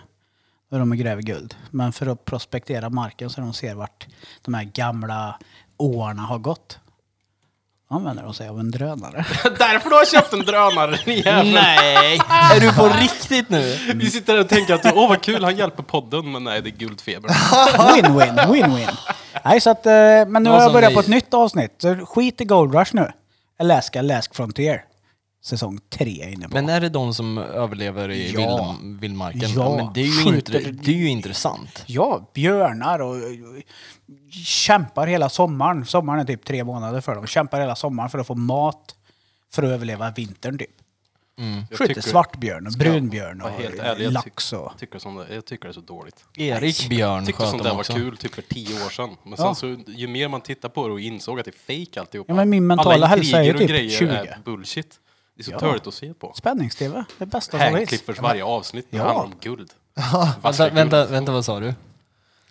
S2: när de gräver guld. Men för att prospektera marken så de ser vart de här gamla åarna har gått. Använder de sig av en *laughs* drönare.
S4: *laughs* Därför du har köpt en drönare din jävel.
S3: Nej! *laughs* Är du på riktigt nu?
S2: Mm.
S4: Vi sitter där och tänker att åh vad kul, han hjälper podden. Men nej, det
S2: *laughs*
S4: är guldfeber.
S2: Win-win, win-win. Nej, så att, eh, men nu
S3: Någon
S2: har jag
S3: som
S2: börjat
S3: ni-
S2: på ett nytt avsnitt. Så skit i Gold Rush nu. Alaska Lask Frontier. Säsong 3 är jag inne på.
S3: Men är det de som överlever i
S2: Ja.
S3: vill, vildmarken?
S2: Ja,
S3: Ja, men det, är ju
S2: skjuter.
S3: intre, det är ju intressant.
S2: Ja, björnar och och kämpar hela sommaren. Sommaren är typ tre månader för dem. Kämpar hela sommaren för att få mat för att överleva vintern typ.
S4: Mm. Jag
S2: Skjuter
S4: tycker-
S2: svartbjörn och
S4: Ska jag
S2: brunbjörn
S4: vara
S2: och
S4: helt ärlig, jag
S2: lax
S4: tyck-
S2: och...
S4: Tycker som det, jag tycker det är så dåligt.
S3: Erik Björn
S4: Jag tyckte
S3: sköt
S4: sånt där
S3: dem
S4: var
S3: också.
S4: kul typ för tio år sedan. Men
S2: Ja.
S4: sen så, ju mer man tittar på det och insåg att det är fejk alltihopa.
S2: Ja, men min mentala
S4: Alla
S2: hälsa är ju
S4: intriger
S2: typ
S4: och grejer
S2: 20.
S4: är bullshit. Det är så törligt att se på.
S2: Spänningstv, det bästa som finns.
S4: Hankliffers varje avsnitt
S2: Ja.
S4: handlar om guld.
S3: Vänta,
S4: Vaskar
S3: vänta, vänta, vad sa du?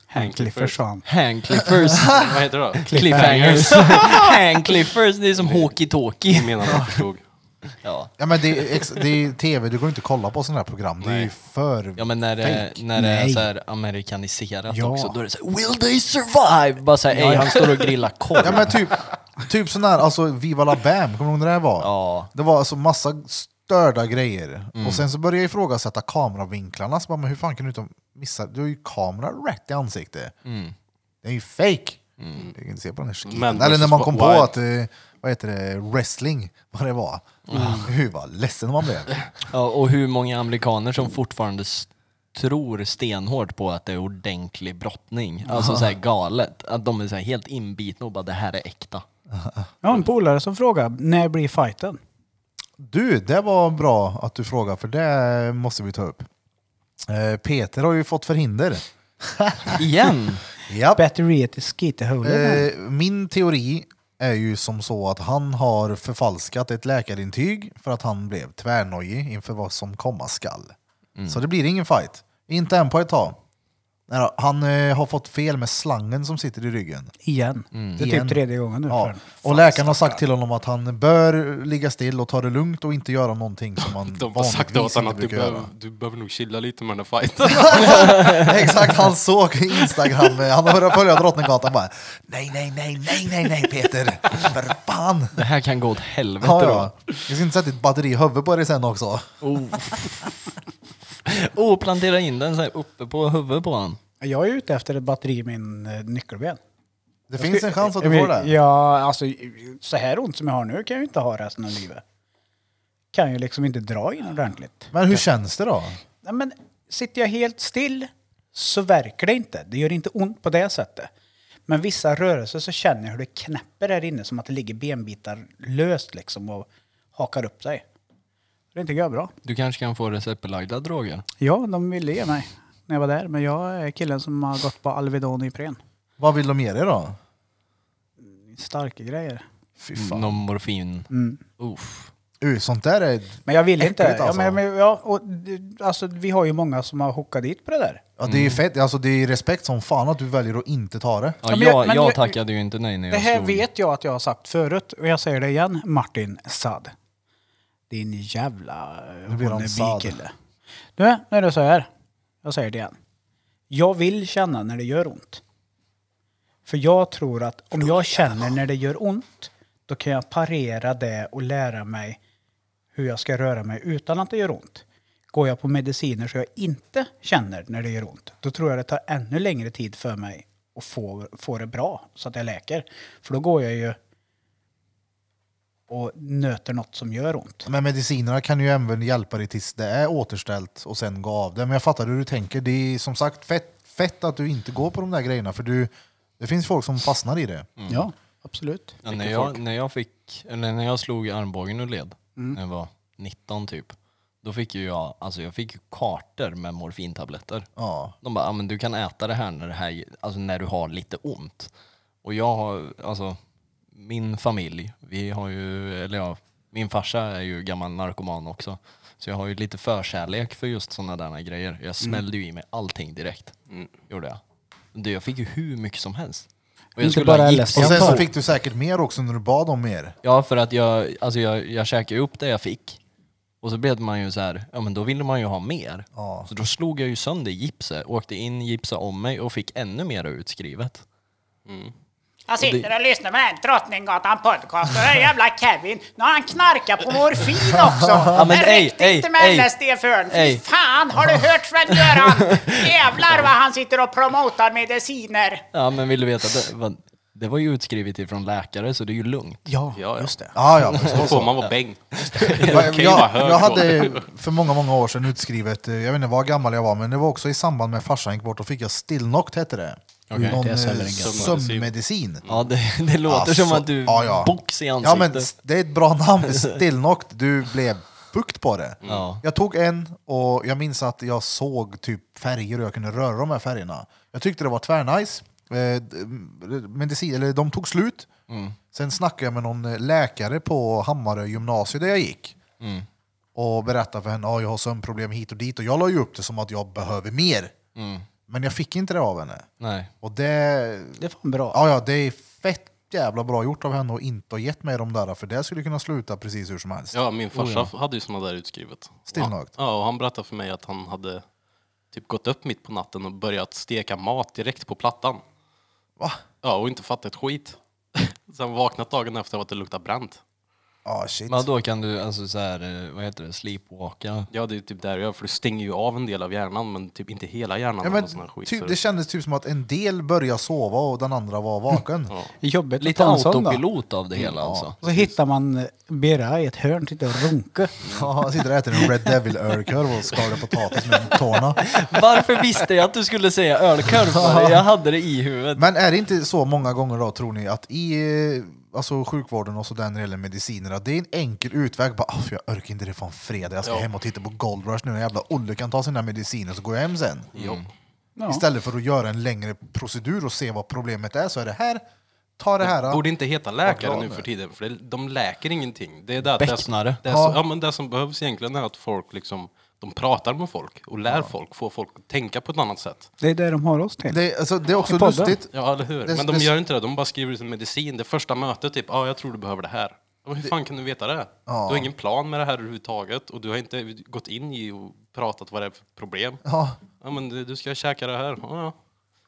S2: Hank Cliffers sa han.
S3: *laughs* Hangcliffers.
S4: guld. Vad heter det då?
S3: Cliffhangers. *laughs* Hangcliffers, det är som
S4: Jag
S3: walkie-talkie.
S4: menar jag förstod.
S3: Ja.
S1: Ja, men det, är ex- det är tv, du går inte kolla på sådana här program. Det är ju
S3: Nej.
S1: för...
S3: Ja men när det,
S1: Fake.
S3: när det är
S2: Nej.
S3: så här amerikaniserat
S2: Ja.
S3: också, då är det så här, Will they survive? Bara såhär, ey han står och grillar korv.
S1: Ja men typ, typ sån här, alltså Viva la Bam, kommer du ihåg när det här var?
S3: Ja.
S1: Det var alltså massa störda grejer. Och sen så började jag ifrågasätta kameravinklarna, så bara, men hur fan kan du inte missa? Du har ju kameran rätt i ansiktet. Det är ju fake. Jag kan inte se på den här skiten.
S4: Men
S1: Eller när man
S4: versus
S1: kom på
S4: wild.
S1: att, eh, vad heter det, wrestling, vad det var. Hur var ledsen man blev.
S3: Ja, och hur många amerikaner som fortfarande s- tror stenhårt på att det är ordentlig brottning. Alltså såhär galet. Att de är såhär helt inbitna och bara det här är äkta.
S2: Jag har en polare som frågar när blir fighten?
S1: Du, det var bra att du frågade, för det måste vi ta upp. Eh, Peter har ju fått förhinder.
S3: Igen!
S1: Japp.
S2: Batteriet i skitehålet.
S1: Eh, min teori är ju som så att han har förfalskat ett läkarintyg för att han blev tvärnojig inför vad som komma skall.
S4: Mm.
S1: Så det blir ingen fight. Inte än på ett tag. Nej då, Han eh, har fått fel med slangen som sitter i ryggen.
S2: Igen.
S4: mm.
S2: Det är
S1: Igen.
S2: typ tredje gången nu.
S1: Ja.
S2: för-
S1: Och läkaren har sagt till honom att han bör ligga still och ta det lugnt och inte göra någonting som man
S4: *laughs* De har sagt åt
S1: vanligtvis
S4: honom
S1: inte
S4: att du
S1: brukar
S4: behöver,
S1: göra. *laughs*
S4: du behöver nog chilla lite med den här fighten.
S1: Exakt, han såg Instagram, eh, han har börjat följa Drottninggatan bara Nej, nej, nej, nej, nej, nej Peter! För fan!
S3: *laughs* Det här kan gå åt helvete
S1: Ja, ja. Jag ska inte sätta ett batteri i huvudet på dig sen också.
S3: då. Oh. oh, plantera in den såhär uppe på huvudet på han.
S2: Jag är ute efter ett batteri i min eh, nyckelben.
S1: Det finns en chans att du
S2: Jag
S1: får
S2: vill-
S1: det.
S2: Ja, alltså så här ont som jag har nu kan jag ju inte ha resten av livet. Kan ju liksom inte dra in ordentligt.
S1: Men hur känns det då?
S2: Nej, men sitter jag helt still så verkar det inte. Det gör inte ont på det sättet. Men vissa rörelser så känner jag hur det knäpper där inne som att det ligger benbitar löst liksom och hakar upp sig. Det är inte jag bra.
S3: Du kanske kan få receptbelagda droger?
S2: Ja, de ville ge mig när jag var där. Men jag är killen som har gått på Alvedon och Ipren.
S1: Vad vill de ge dig då?
S2: Starka grejer.
S1: Fy fan.
S3: Någon morfin?
S2: Mm.
S3: Uff.
S1: Uh, sånt där är...
S2: Men jag vill inte.
S1: Äckligt,
S2: Ja,
S1: alltså.
S2: men, men, ja, och, det- alltså, vi har ju många som har hockat dit på det där.
S1: Ja, det är ju fett. Alltså, det är respekt som fan att du väljer att inte ta det.
S3: Ja,
S2: Ja, men jag-
S3: jag,
S2: men
S3: jag
S2: jag-
S3: tackade ju inte nej när jag
S2: Det här
S3: slog.
S2: vet jag att jag har sagt förut och jag säger det igen. Martin Sad. Din jävla
S1: Nu blir han sad.
S2: wannabe-kille. Du, nu är det så här. Jag säger det igen. Jag vill känna när det gör ont. För jag tror att om jag känner när det gör ont, då kan jag parera det och lära mig hur jag ska röra mig utan att det gör ont. Går jag på mediciner så jag inte känner när det gör ont, då tror jag det tar ännu längre tid för mig att få, få det bra så att jag läker. För då går jag ju och nöter något som gör ont.
S1: Men medicinerna kan ju även hjälpa dig tills det är återställt och sen gå av det. Men jag fattar hur du tänker. Det är som sagt fett, fett att du inte går på de där grejerna för du Det finns folk som fastnar i det.
S2: Ja, absolut.
S3: Ja, när, jag, när jag fick, eller när jag slog armbågen ur led,
S1: Mm.
S3: när jag var 19 typ, då fick ju jag, alltså jag fick ju kartor med morfintabletter.
S1: Ja.
S3: De bara, ah, men du kan äta det här när, det här alltså när du har lite ont. Och jag har, alltså min familj, vi har ju, eller ja, min farsa är ju gammal narkoman också. Så jag har ju lite förkärlek för just sådana där grejer.
S1: Mm.
S3: Jag smällde ju i mig allting direkt. Gjorde jag. Det, jag fick ju hur mycket som helst. Och
S2: Inte bara
S3: ha gips
S2: LSD.
S1: Och
S2: Jag
S1: sen så
S2: tar-
S1: fick du säkert mer också när du bad om mer.
S3: Ja, för att jag, alltså jag, jag käkade upp det jag fick. Och så blev man ju så här, ja men då ville man ju ha mer.
S1: Ja.
S3: Så då slog jag ju sönder gipset, åkte in, gipsade om mig och fick ännu mer utskrivet.
S5: Jag sitter och lyssnar på den Drottninggatan podcast och den jävla Kevin, nu har han knarkat på morfin också!
S3: *laughs* Ja, men
S5: det
S3: ey,
S5: räckte
S3: ey,
S5: inte med
S3: ey.
S5: LSD för honom. Fy
S3: Ey.
S5: fan, har du
S3: *laughs*
S5: hört Sven-Göran? Jävlar vad han sitter och promotar mediciner!
S3: Ja men vill du veta, det var, det var ju utskrivet ifrån läkare så det är ju lugnt.
S2: Ja,
S4: Ja, ja.
S2: just det.
S1: Ja, *laughs* ja, precis.
S4: Då får man vara bäng.
S1: *laughs* jag,
S4: ju vara hög
S1: jag hade
S4: då.
S1: för många, många år sedan utskrivet, eh, jag vet inte vad gammal jag var, men det var också i samband med att farsan gick bort, och fick jag stillnokt hette det. Någon
S2: det är
S1: eh,
S2: sällan en
S4: gammal.
S1: sömnmedicin.
S3: Ja det, *laughs* det låter
S1: Alltså,
S3: som att du
S1: ja, ja.
S3: box i
S1: Ja
S3: ansiktet.
S1: men s- det är ett bra namn
S3: *laughs*
S1: för stillnokt, du blev fukt på det.
S3: Ja.
S1: Jag tog en och jag minns att jag såg typ färger och jag kunde röra de här färgerna. Jag tyckte det var tvärnice. Eh, d- m- Medicin, eller de tog slut.
S3: Mm.
S1: Sen snackade jag med någon eh, läkare på Hammarö gymnasium där jag gick.
S3: Mm.
S1: Och berättade för henne att jag har sömnproblem hit och dit. Och jag la ju upp det som att jag behöver mer. Men jag fick inte det av henne.
S3: Mm. Nej.
S1: Och det...
S2: Det är fan bra.
S1: Ja, ja, det är fett jävla bra gjort av henne att inte ha gett mig de där. För det skulle kunna sluta precis hur som helst.
S4: Ja, min farsa hade ju såna där utskrivet.
S1: Stillnöjt.
S4: Ja, och han berättade för mig att han hade typ gått upp mitt på natten och börjat steka mat direkt på plattan.
S1: Va?
S4: Ja, och inte fattat ett skit. *laughs* Sen vaknat dagen efter av att det luktade bränt.
S1: Ja, shit.
S3: Men då kan du alltså så här, eh, vad heter det, sleepwalka?
S4: Ja, det är typ där jag gör, för du stänger ju av en del av hjärnan, men typ inte hela hjärnan.
S1: Ja,
S4: eller
S1: men
S4: någon sån här skit, så
S1: typ, det kändes typ som att en del började sova och den andra var
S4: *laughs*
S1: vaken.
S2: Jobbigt att
S3: Lite
S2: ta en sån då.
S3: autopilot av det hela alltså.
S2: Och så hittar man eh, Birra i ett hörn, sitter och runkar.
S1: Ja, han sitter och äter en Red Devil-ölkorv och skalar potatis med tårna.
S3: Varför visste jag att du skulle säga ölkorv? *laughs* för? Jag hade det i huvudet.
S1: Men är det inte så många gånger då, tror ni, att i eh, alltså, sjukvården och sådär när det gäller mediciner, att det är en enkel utväg. Bara, "Ah, för jag orkar inte det från fredag, jag ska hem och titta på Gold Rush nu. när Jävla Olle kan ta sina mediciner och så går jag hem sen.
S2: Ja.
S1: Istället för att göra en längre procedur och se vad problemet är så är det här, ta det här.
S4: Borde inte heta
S1: Vad
S4: läkare
S1: bra
S4: nu
S1: nu.
S4: för tiden, för det, de läker ingenting. Det är det, att det, som,
S3: Bäcknare.
S4: det, är så, ja, men det som behövs egentligen är att folk liksom, de pratar med folk och lär folk, får folk att tänka på ett annat sätt.
S2: Det är det de har oss till.
S1: Det, alltså, det är också
S2: I podden.
S1: lustigt.
S4: Ja, eller hur?
S1: Det-
S4: men de
S1: det-
S4: gör inte det, de bara skriver ut en medicin. Det första mötet, typ, ja, ah, jag tror du behöver det här. Ja, Men hur fan kan du veta det? Du har ingen plan med det här överhuvudtaget och du har inte gått in i och pratat vad det är för problem.
S1: Ja,
S4: Ja, men du du ska käka det här. Ja, ja.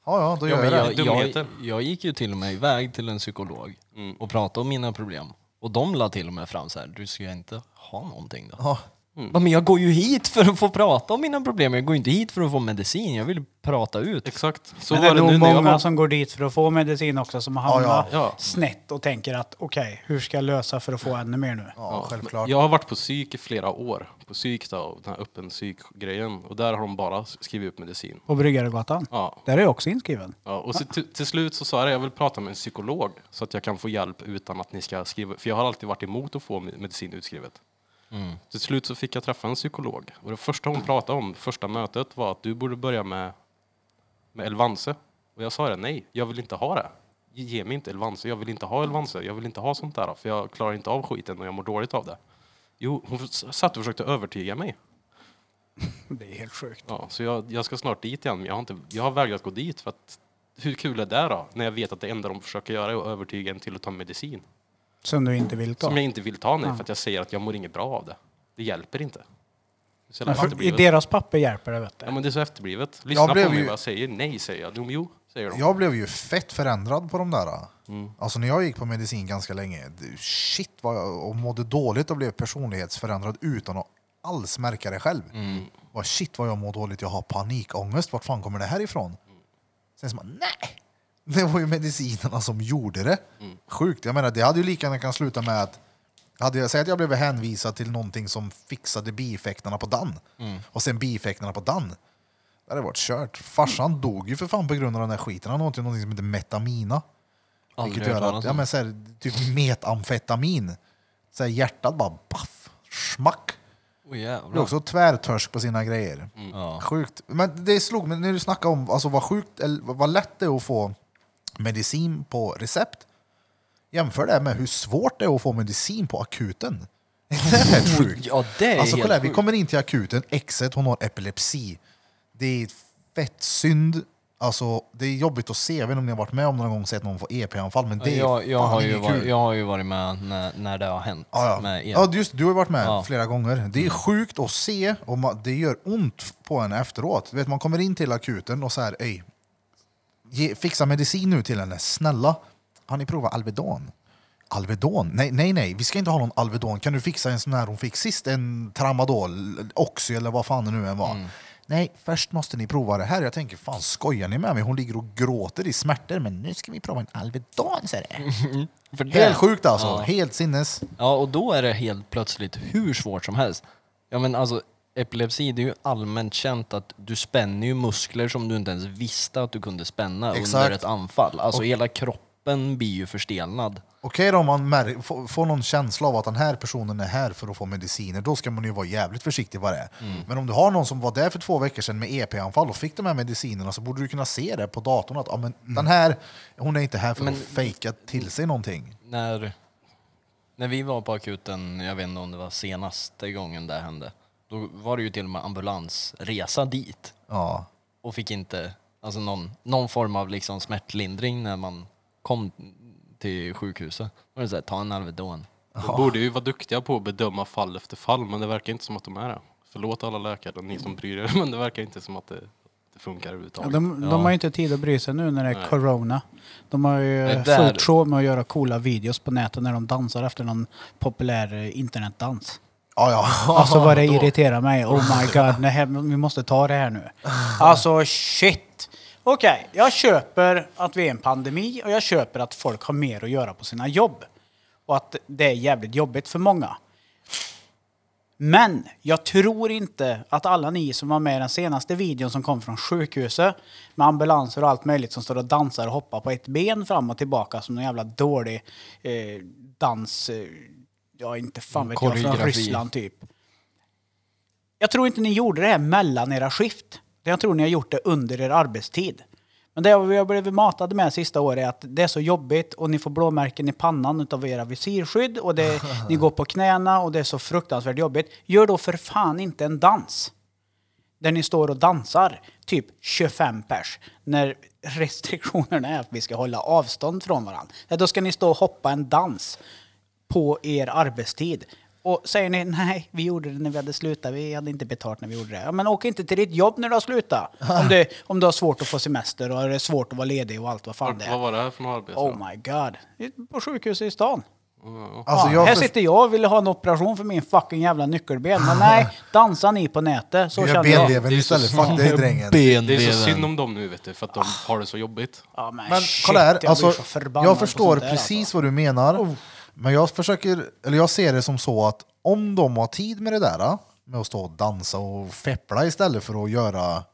S1: ja, ja då
S4: Ja,
S1: gör
S4: men
S1: jag det.
S4: jag- dumheter.
S3: jag, jag gick ju till och med iväg till en psykolog
S1: Mm.
S3: och pratade om mina problem. Och de la till och med fram så här, du ska inte ha någonting då.
S1: Ja.
S3: Ja, Men jag går ju hit för att få prata om mina problem, jag går ju inte hit för att få medicin, jag vill prata ut.
S4: Exakt. Så
S2: Men det är
S4: var det nu
S2: nog
S4: när jag
S2: många
S4: var...
S2: som går dit för att få medicin också som hamnar
S1: ja.
S4: Ja.
S2: snett och tänker att okej, hur ska jag lösa för att få ännu mer nu?
S1: Ja, självklart.
S4: Jag har varit på psyk i flera år. På psyk då, den här öppen psykgrejen. Och där har de bara skrivit upp medicin.
S2: På Bryggaregatan?
S4: Ja.
S2: Där är jag också inskriven.
S4: Ja, och så t- till slut så sa jag jag vill prata med en psykolog så att jag kan få hjälp utan att ni ska skriva. För jag har alltid varit emot att få me- medicin utskrivet. Till slut så fick jag träffa en psykolog. Och det första hon pratade om, första mötet, var att du borde börja med, med Elvanse. Och jag sa det, nej, jag vill inte ha det. Ge mig inte Elvanse, jag vill inte ha Elvanse, jag vill inte ha sånt där. För jag klarar inte av skiten och jag mår dåligt av det. Jo, hon s- satt och försökte övertyga mig.
S2: Det är helt sjukt.
S4: Ja, så jag, jag ska snart dit igen, men jag har, inte, jag har vägrat gå dit för att hur kul är det då? När jag vet att det enda de försöker göra är att övertyga en till att ta medicin.
S2: Som du inte vill ta.
S4: Som jag inte vill ta nu för att jag säger att jag mår inget bra av det. Det hjälper inte. Det är så jävla
S2: Men för, I
S4: efterblivet.
S2: deras papper hjälper det vet
S4: Ja,
S2: du.
S4: men det är så efterblivet. Lyssna
S1: Jag blev
S4: på mig
S1: ju-
S4: vad jag säger. Nej, säger jag. Jo, jo, säger de.
S1: Jag blev ju fett förändrad på de där. Alltså när jag gick på medicin ganska länge, det- shit vad jag och mådde dåligt och blev personlighetsförändrad utan att alls märka det själv. Vad shit vad jag mår dåligt, jag har panikångest, vart fan kommer det här ifrån? Sen så man, nej! Det var ju medicinerna som gjorde det. Sjukt, jag menar det hade ju lika gärna kan sluta med att hade jag, säg att jag blev hänvisad till någonting som fixade bieffekterna på Dan och sen bieffekterna på Dan. Det hade varit kört. Farsan dog ju för fan på grund av den här skiten. Han åt ju någonting som heter metamina. Vilket
S3: Aldrig hört
S1: gör
S3: talas
S1: att, ja
S3: om.
S1: men så här, typ metamfetamin. Så här, hjärtat bara baff, smack.
S3: Åh
S1: Blir
S3: jävlar.
S1: också tvärtörsk på sina grejer.
S3: Ja.
S1: Sjukt. Men det slog mig när du snackade om alltså, vad sjukt, eller vad lätt det är att få medicin på recept. Jämför det med hur svårt det är att få medicin på akuten. *laughs* Det är helt sjukt.
S3: Ja, det är
S1: Alltså
S3: helt
S1: kolla här, vi
S3: sjukt.
S1: kommer in till akuten, exet, hon har epilepsi. Det är fett synd. Alltså, det är jobbigt att se, jag vet inte om ni har varit med om någon gång sett någon få EP-anfall, men det är
S3: Jag, jag,
S1: fan
S3: har ju
S1: inget
S3: varit,
S1: kul.
S3: jag har ju varit med när, när det har hänt.
S1: Ja, ja.
S3: Med er.
S1: ja just, det, du har ju varit med
S3: Ja. Mm.
S1: flera gånger. Det är sjukt att se och man, det gör ont på en efteråt. Du vet, man kommer in till akuten och så här, Ej, ge, fixa medicin nu till henne, snälla. Har ni provat Alvedon? Alvedon? Nej, nej, nej, vi ska inte ha någon Alvedon. Kan du fixa en sån här hon fick sist? En tramadol, Oxy eller vad fan det nu än var.
S3: Mm.
S1: Nej, först måste ni prova det här. Jag tänker, fan skojar ni med mig? Hon ligger och gråter i smärtor, men nu ska vi prova en Alvedon, säger
S3: *laughs*
S1: det.
S3: För det-
S1: Helt sjukt alltså,
S3: Ja.
S1: helt sinnes.
S3: Ja, och då är det helt plötsligt hur svårt som helst. Ja, men alltså epilepsi, det är ju allmänt känt att du spänner ju muskler som du inte ens visste att du kunde spänna under
S1: Exakt.
S3: ett anfall. Alltså hela kroppen blir ju förstelnad.
S1: Okej då om man mär- får- får någon känsla av att den här personen är här för att få mediciner, då ska man ju vara jävligt försiktig vad det är.
S2: Mm.
S1: Men om du har någon som var där för två veckor sedan med EP-anfall och fick de här medicinerna så borde du kunna se det på datorn att ah, men
S2: Mm.
S1: den här, hon är inte här för att fejka till sig någonting.
S3: När, när vi var på akuten, jag vet inte om det var senaste gången det hände, då var det ju till och med ambulansresa dit
S1: Ja.
S3: och fick inte alltså någon, någon form av liksom smärtlindring när man kom till sjukhuset. Då var det så här, ta en Alvedon.
S4: De borde ju vara duktiga på att bedöma fall efter fall, men det verkar inte som att de är det. Förlåt alla läkare, ni som bryr er, *laughs* men det verkar inte som att det, det funkar
S2: Ja,
S4: överhuvudtaget.
S2: de, de har ju inte tid att bry sig nu när det är corona. De har ju
S3: Det där-
S2: fullt sjå med att göra coola videos på nätet när de dansar efter någon populär eh, internetdans.
S1: Ja,
S2: *laughs*
S1: ja.
S2: Alltså vad det irriterar mig. Oh my god, nej, vi måste ta det här nu. *laughs* Alltså shit! Okej, jag köper att vi är i en pandemi och jag köper att folk har mer att göra på sina jobb. Och att det är jävligt jobbigt för många. Men jag tror inte att alla ni som var med i den senaste videon som kom från sjukhuset med ambulanser och allt möjligt som står och dansar och hoppar på ett ben fram och tillbaka som en jävla dålig eh, dans... Eh, ja, inte fan vet jag, från
S3: Koreografi.
S2: Ryssland typ. Jag tror inte ni gjorde det här mellan era skift. Jag tror ni har gjort det under er arbetstid. Men det vi har blivit matade med sista året är att det är så jobbigt och ni får blåmärken i pannan utav era visirskydd och det, ni går på knäna och det är så fruktansvärt jobbigt. Gör då för fan inte en dans där ni står och dansar typ 25 pers när restriktionerna är att vi ska hålla avstånd från varandra. Ja, Då ska ni stå och hoppa en dans på er arbetstid. Och säger ni nej, vi gjorde det när vi hade slutat, vi hade inte betalt när vi gjorde det. Ja, men åk inte till ditt jobb när du har slutat. Om du, om du har svårt att få semester och det är svårt att vara ledig och allt vad fan det
S4: Vad
S2: är.
S4: var det här för något arbete?
S2: Oh my god. På sjukhuset i stan.
S1: Alltså,
S2: Fan,
S1: jag
S2: här
S1: först-
S2: sitter jag och vill ha en operation för min fucking jävla nyckelben. Men nej, dansa ni på nätet. Så
S1: Du gör
S2: känner jag.
S1: benleven istället, fuck dig
S2: *laughs*
S1: drängen.
S4: det är så synd om dem nu vet du, för att de
S2: Ah.
S4: har det så jobbigt.
S2: Ja, men
S1: Men
S2: shit,
S1: kolla här,
S2: jag
S1: alltså,
S2: blir så förbannad
S1: jag
S2: på
S1: förstår
S2: sånt där,
S1: precis
S2: alltså.
S1: vad du menar. Men jag, försöker, eller jag ser det som så att om de har tid med det där, eh, med att stå och dansa och feppla istället för att göra Ja,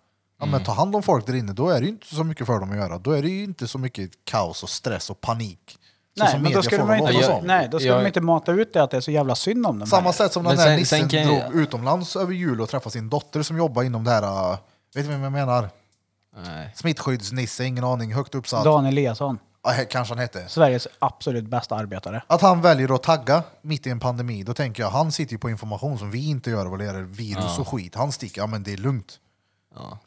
S2: Mm.
S1: men ta hand om folk där inne, då är det ju inte så mycket för dem att göra. Då är det ju inte så mycket kaos och stress och panik. Så
S2: Nej,
S1: som
S2: men då
S1: media
S2: skulle
S1: får
S2: man
S1: dem att
S2: inte,
S1: låta
S3: jag-
S1: som.
S2: nej, då skulle
S3: jag-
S2: man inte mata ut det att det är så jävla synd om dem.
S1: Samma
S2: här.
S1: sätt som
S3: Men
S1: den här
S3: sen-
S1: nissen
S3: sen kan jag-
S1: drog utomlands över jul och träffade sin dotter som jobbar inom det här, äh, vet du vem jag menar?
S3: Nej.
S1: Smittskyddsnisse, ingen aning, högt uppsatt.
S2: Dan Eliasson,
S1: Ja, kanske han hette.
S2: Sveriges absolut bästa arbetare.
S1: Att han väljer att tagga mitt i en pandemi, då tänker jag han sitter ju på information som vi inte gör vad det gäller virus och skit. Han sticker, ja men det är lugnt.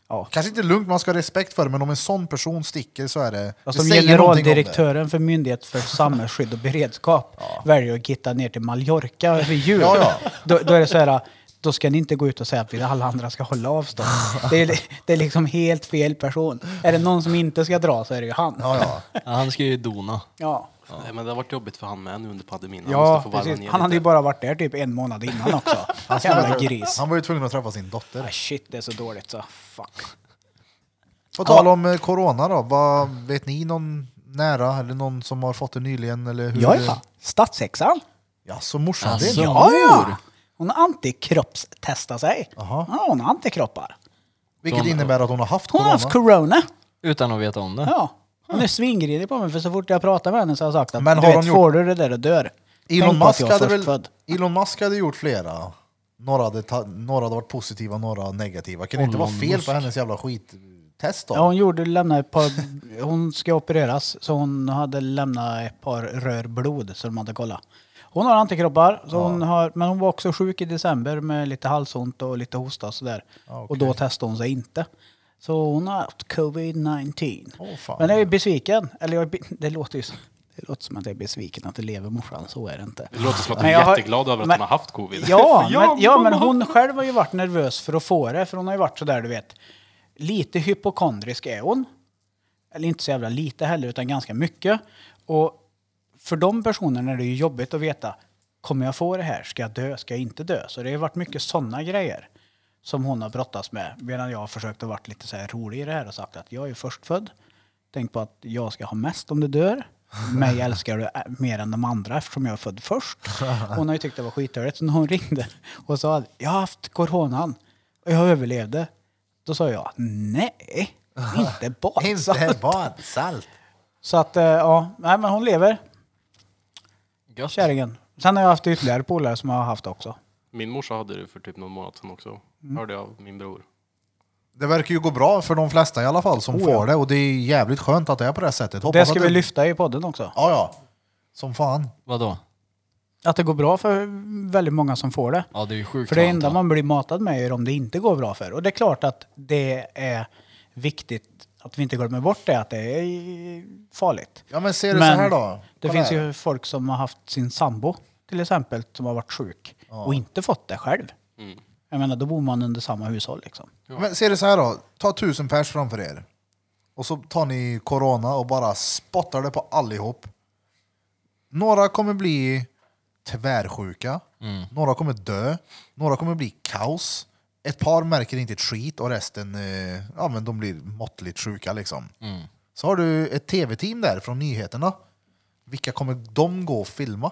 S2: Ja.
S1: Kanske inte lugnt, man ska ha respekt för det, men om en sån person sticker så är det...
S2: Alltså,
S1: det
S2: som
S1: säger någonting om det.
S2: generaldirektören för
S1: *laughs*
S2: Myndighet för samhällsskydd och beredskap väljer att gitta ner till Mallorca över jul.
S1: Ja, ja.
S2: *laughs* Då, då är det så här, då ska ni inte gå ut och säga att vi alla andra ska
S1: *laughs*
S2: hålla avstånd. Det är, det är liksom helt fel person. Är det någon som inte ska dra så är det ju han.
S1: Ja, ja.
S3: Ja, han ska ju dona.
S2: Ja,
S4: Nej, men det har varit jobbigt för han med nu under pandemin. Han
S2: ja
S4: måste få varva
S2: precis.
S4: ner
S2: Han hade ju
S4: lite.
S2: bara varit där typ en månad innan
S4: *laughs*
S2: också. Jävla gris.
S1: Han var ju tvungen att träffa sin
S2: Ah,
S1: dotter.
S2: shit, det är så dåligt så fuck.
S1: På tal om eh, corona då, vad, vet ni någon nära eller någon som har fått det nyligen? Eller hur
S2: Ja,
S1: det-
S2: ja. Statssexan.
S1: Ja, så morsan
S3: Alltså.
S1: det?
S2: Ja, ja. Hon har antikroppstestat sig.
S1: Jaha.
S2: Ja, hon har antikroppar.
S1: Vilket innebär att hon har haft
S2: Hon
S1: corona.
S2: har haft corona.
S3: Utan att veta om det.
S2: Ja. Hon är svingridig på mig för så fort jag pratar med henne så har jag sagt
S1: Men
S2: att Men
S1: har
S2: du vet,
S1: hon gjort-
S2: får du det där och dör.
S1: Elon
S2: Tänk på att
S1: Musk,
S2: jag är
S1: hade
S2: förstfödd.
S1: väl, Elon Musk hade gjort flera. Några hade, ta, några hade varit positiva, några negativa. Kan det inte vara fel på hennes jävla skittest då?
S2: Ja, hon gjorde lämna ett par... Hon ska opereras, så hon hade lämnat ett par rör blod som de hade kollat. Hon har antikroppar, så hon har, men hon var också sjuk i december med lite halsont och lite hosta och sådär.
S1: okej.
S2: Och då testade hon sig inte. Så hon har haft covid-19.
S1: Åh, fan. *laughs*
S2: men jag är besviken. Eller jag är, be- *laughs* det låter ju som, det låter som att jag är besviken att det lever morsan, så är det inte.
S4: Det låter som att du
S2: Men
S4: är
S2: jag har-
S4: jätteglad över att
S2: men-
S4: man har haft covid.
S2: Ja, men, ja, men hon själv har ju varit nervös för att få det, för hon har ju varit sådär, du vet, lite hypokondrisk är hon. Eller inte så jävla lite heller, utan ganska mycket. Och för de personerna är det ju jobbigt att veta, kommer jag få det här? Ska jag dö? Ska jag inte dö? Så det har ju varit mycket sådana grejer som hon har brottats med. Medan jag har försökt att vara lite så här rolig i det här och sagt att jag är förstfödd. Tänk på att jag ska ha mest om du dör. Mig älskar du ä- mer än de andra eftersom jag är född först. Hon har ju tyckt det var skithörigt. Så när hon ringde och sa att jag har haft coronan och jag överlevde. Då sa jag nej, inte
S1: *laughs*
S2: bara.
S1: Inte badsalt.
S2: Så att eh, ja, nej men hon lever,
S3: Gött.
S2: kärringen. Sen har jag haft ytterligare polare som jag har haft också.
S4: Min morsa hade det för typ någon månad sedan också.
S2: Mm.
S4: Hörde jag av min bror.
S1: Det verkar ju gå bra för de flesta i alla fall som
S2: Oh, ja.
S1: får det och det är jävligt skönt att det är på det här sättet. Hoppas
S2: Det ska
S1: att
S2: vi lyfta i podden också.
S1: Ja, ja. Som fan.
S3: Vadå?
S2: Att det går bra för väldigt många som får det.
S3: Ja, det är ju sjukt.
S2: För det
S3: skönt,
S2: enda
S3: va?
S2: man blir matad med är om det inte går bra för. Och det är klart att det är viktigt att vi inte glömmer bort det, att det är farligt.
S1: Ja men ser det så här då.
S2: det
S1: Kolla
S2: finns
S1: här.
S2: ju folk som har haft sin sambo till exempel som har varit sjuk och inte fått det själv. Jag menar, då bor man under samma hushåll liksom.
S1: Men ser det så här då. Ta tusen pers framför er. Och så tar ni corona och bara spottar det på allihop. Några kommer bli tvärsjuka.
S3: Mm.
S1: Några kommer dö. Några kommer bli kaos. Ett par märker inte ett skit och resten eh, ja, men de blir måttligt sjuka. Liksom.
S3: Mm.
S1: Så har du ett tv-team där från nyheterna. Vilka kommer de gå och filma?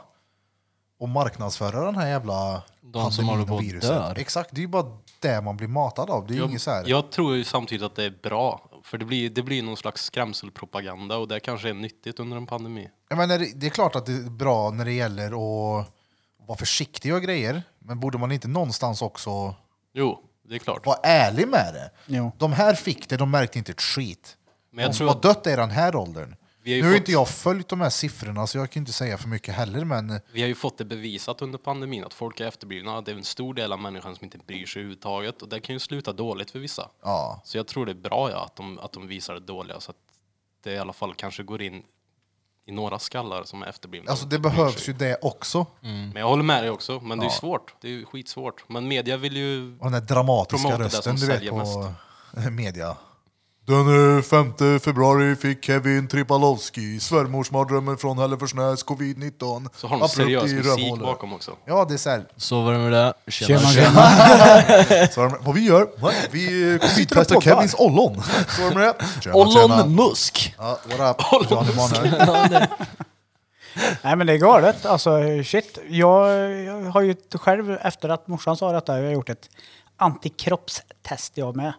S1: Och marknadsföra den här jävla
S3: De som
S1: pandemin
S3: håller på
S1: och
S3: och
S1: viruset.
S3: dör.
S1: Exakt, det är ju bara det man blir matad av. Det är ju
S4: Jag,
S1: inget så här.
S4: jag tror ju samtidigt att det är bra. För det blir, det blir någon slags skrämselpropaganda och det kanske är nyttigt under en pandemi.
S1: Jag menar, det- det är klart att det är bra när det gäller att vara försiktig och grejer, men borde man inte någonstans också
S4: Jo, det är klart.
S1: vara ärlig med det?
S2: Jo.
S1: De här fick det, de märkte inte ett skit.
S4: Men jag
S1: de
S4: tror
S1: har
S4: att-
S1: dött i den här åldern.
S4: Vi har ju
S1: Nu har
S4: fått-
S1: inte jag följt de här siffrorna så jag kan ju inte säga för mycket heller, men
S4: Vi har ju fått det bevisat under pandemin att folk är efterblivna. Det är en stor del av människan som inte bryr sig överhuvudtaget och det kan ju sluta dåligt för vissa.
S1: ja.
S4: Så jag tror det är bra ja, att, de, att de visar det dåliga så att det i alla fall kanske går in i några skallar som är efterblivna.
S1: Alltså
S4: och
S1: det
S4: inte bryr
S1: behövs ju
S4: sig.
S1: det också.
S4: Men jag håller med dig också, men det är ju svårt. Det är ju skitsvårt. Men media vill ju...
S1: Och den där dramatiska
S4: Promota det
S1: rösten du
S4: som
S1: vet
S4: säljer
S1: på *laughs* media. Den eh, 5 februari fick Kevin Tripalowski svärmorsmardrömmen från Hälleforsnäs, covid-19.
S4: Så har de
S1: abrupt
S4: seriös
S1: i
S4: musik
S1: rövhålet.
S4: bakom också.
S1: Ja, det är *laughs* så här.
S3: Så var det med det. Tjena,
S2: Tjena,
S3: tjena.
S2: tjena.
S1: Så har de, vad vi gör? Va? Vi eh,
S2: och
S1: covid-testar
S2: poddar.
S1: Kevins ollon. Så har de det. Tjena, tjena.
S3: Ollon Musk!
S1: Ja, what up? Johnny Emanuel.
S2: Nej men det är galet. Alltså shit. Jag, jag har ju t- själv efter att morsan sa detta, jag har gjort ett antikroppstest jag med.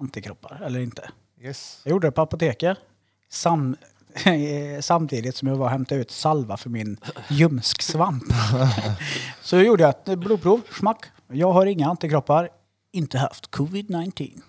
S2: Antikroppar eller inte.
S1: Yes.
S2: Jag gjorde det på apoteket. Sam, *laughs* eh, samtidigt som jag var och hämtade ut salva för min ljumsksvamp. Så jag gjorde ett blodprov, smack. Jag har inga antikroppar, inte haft covid-19.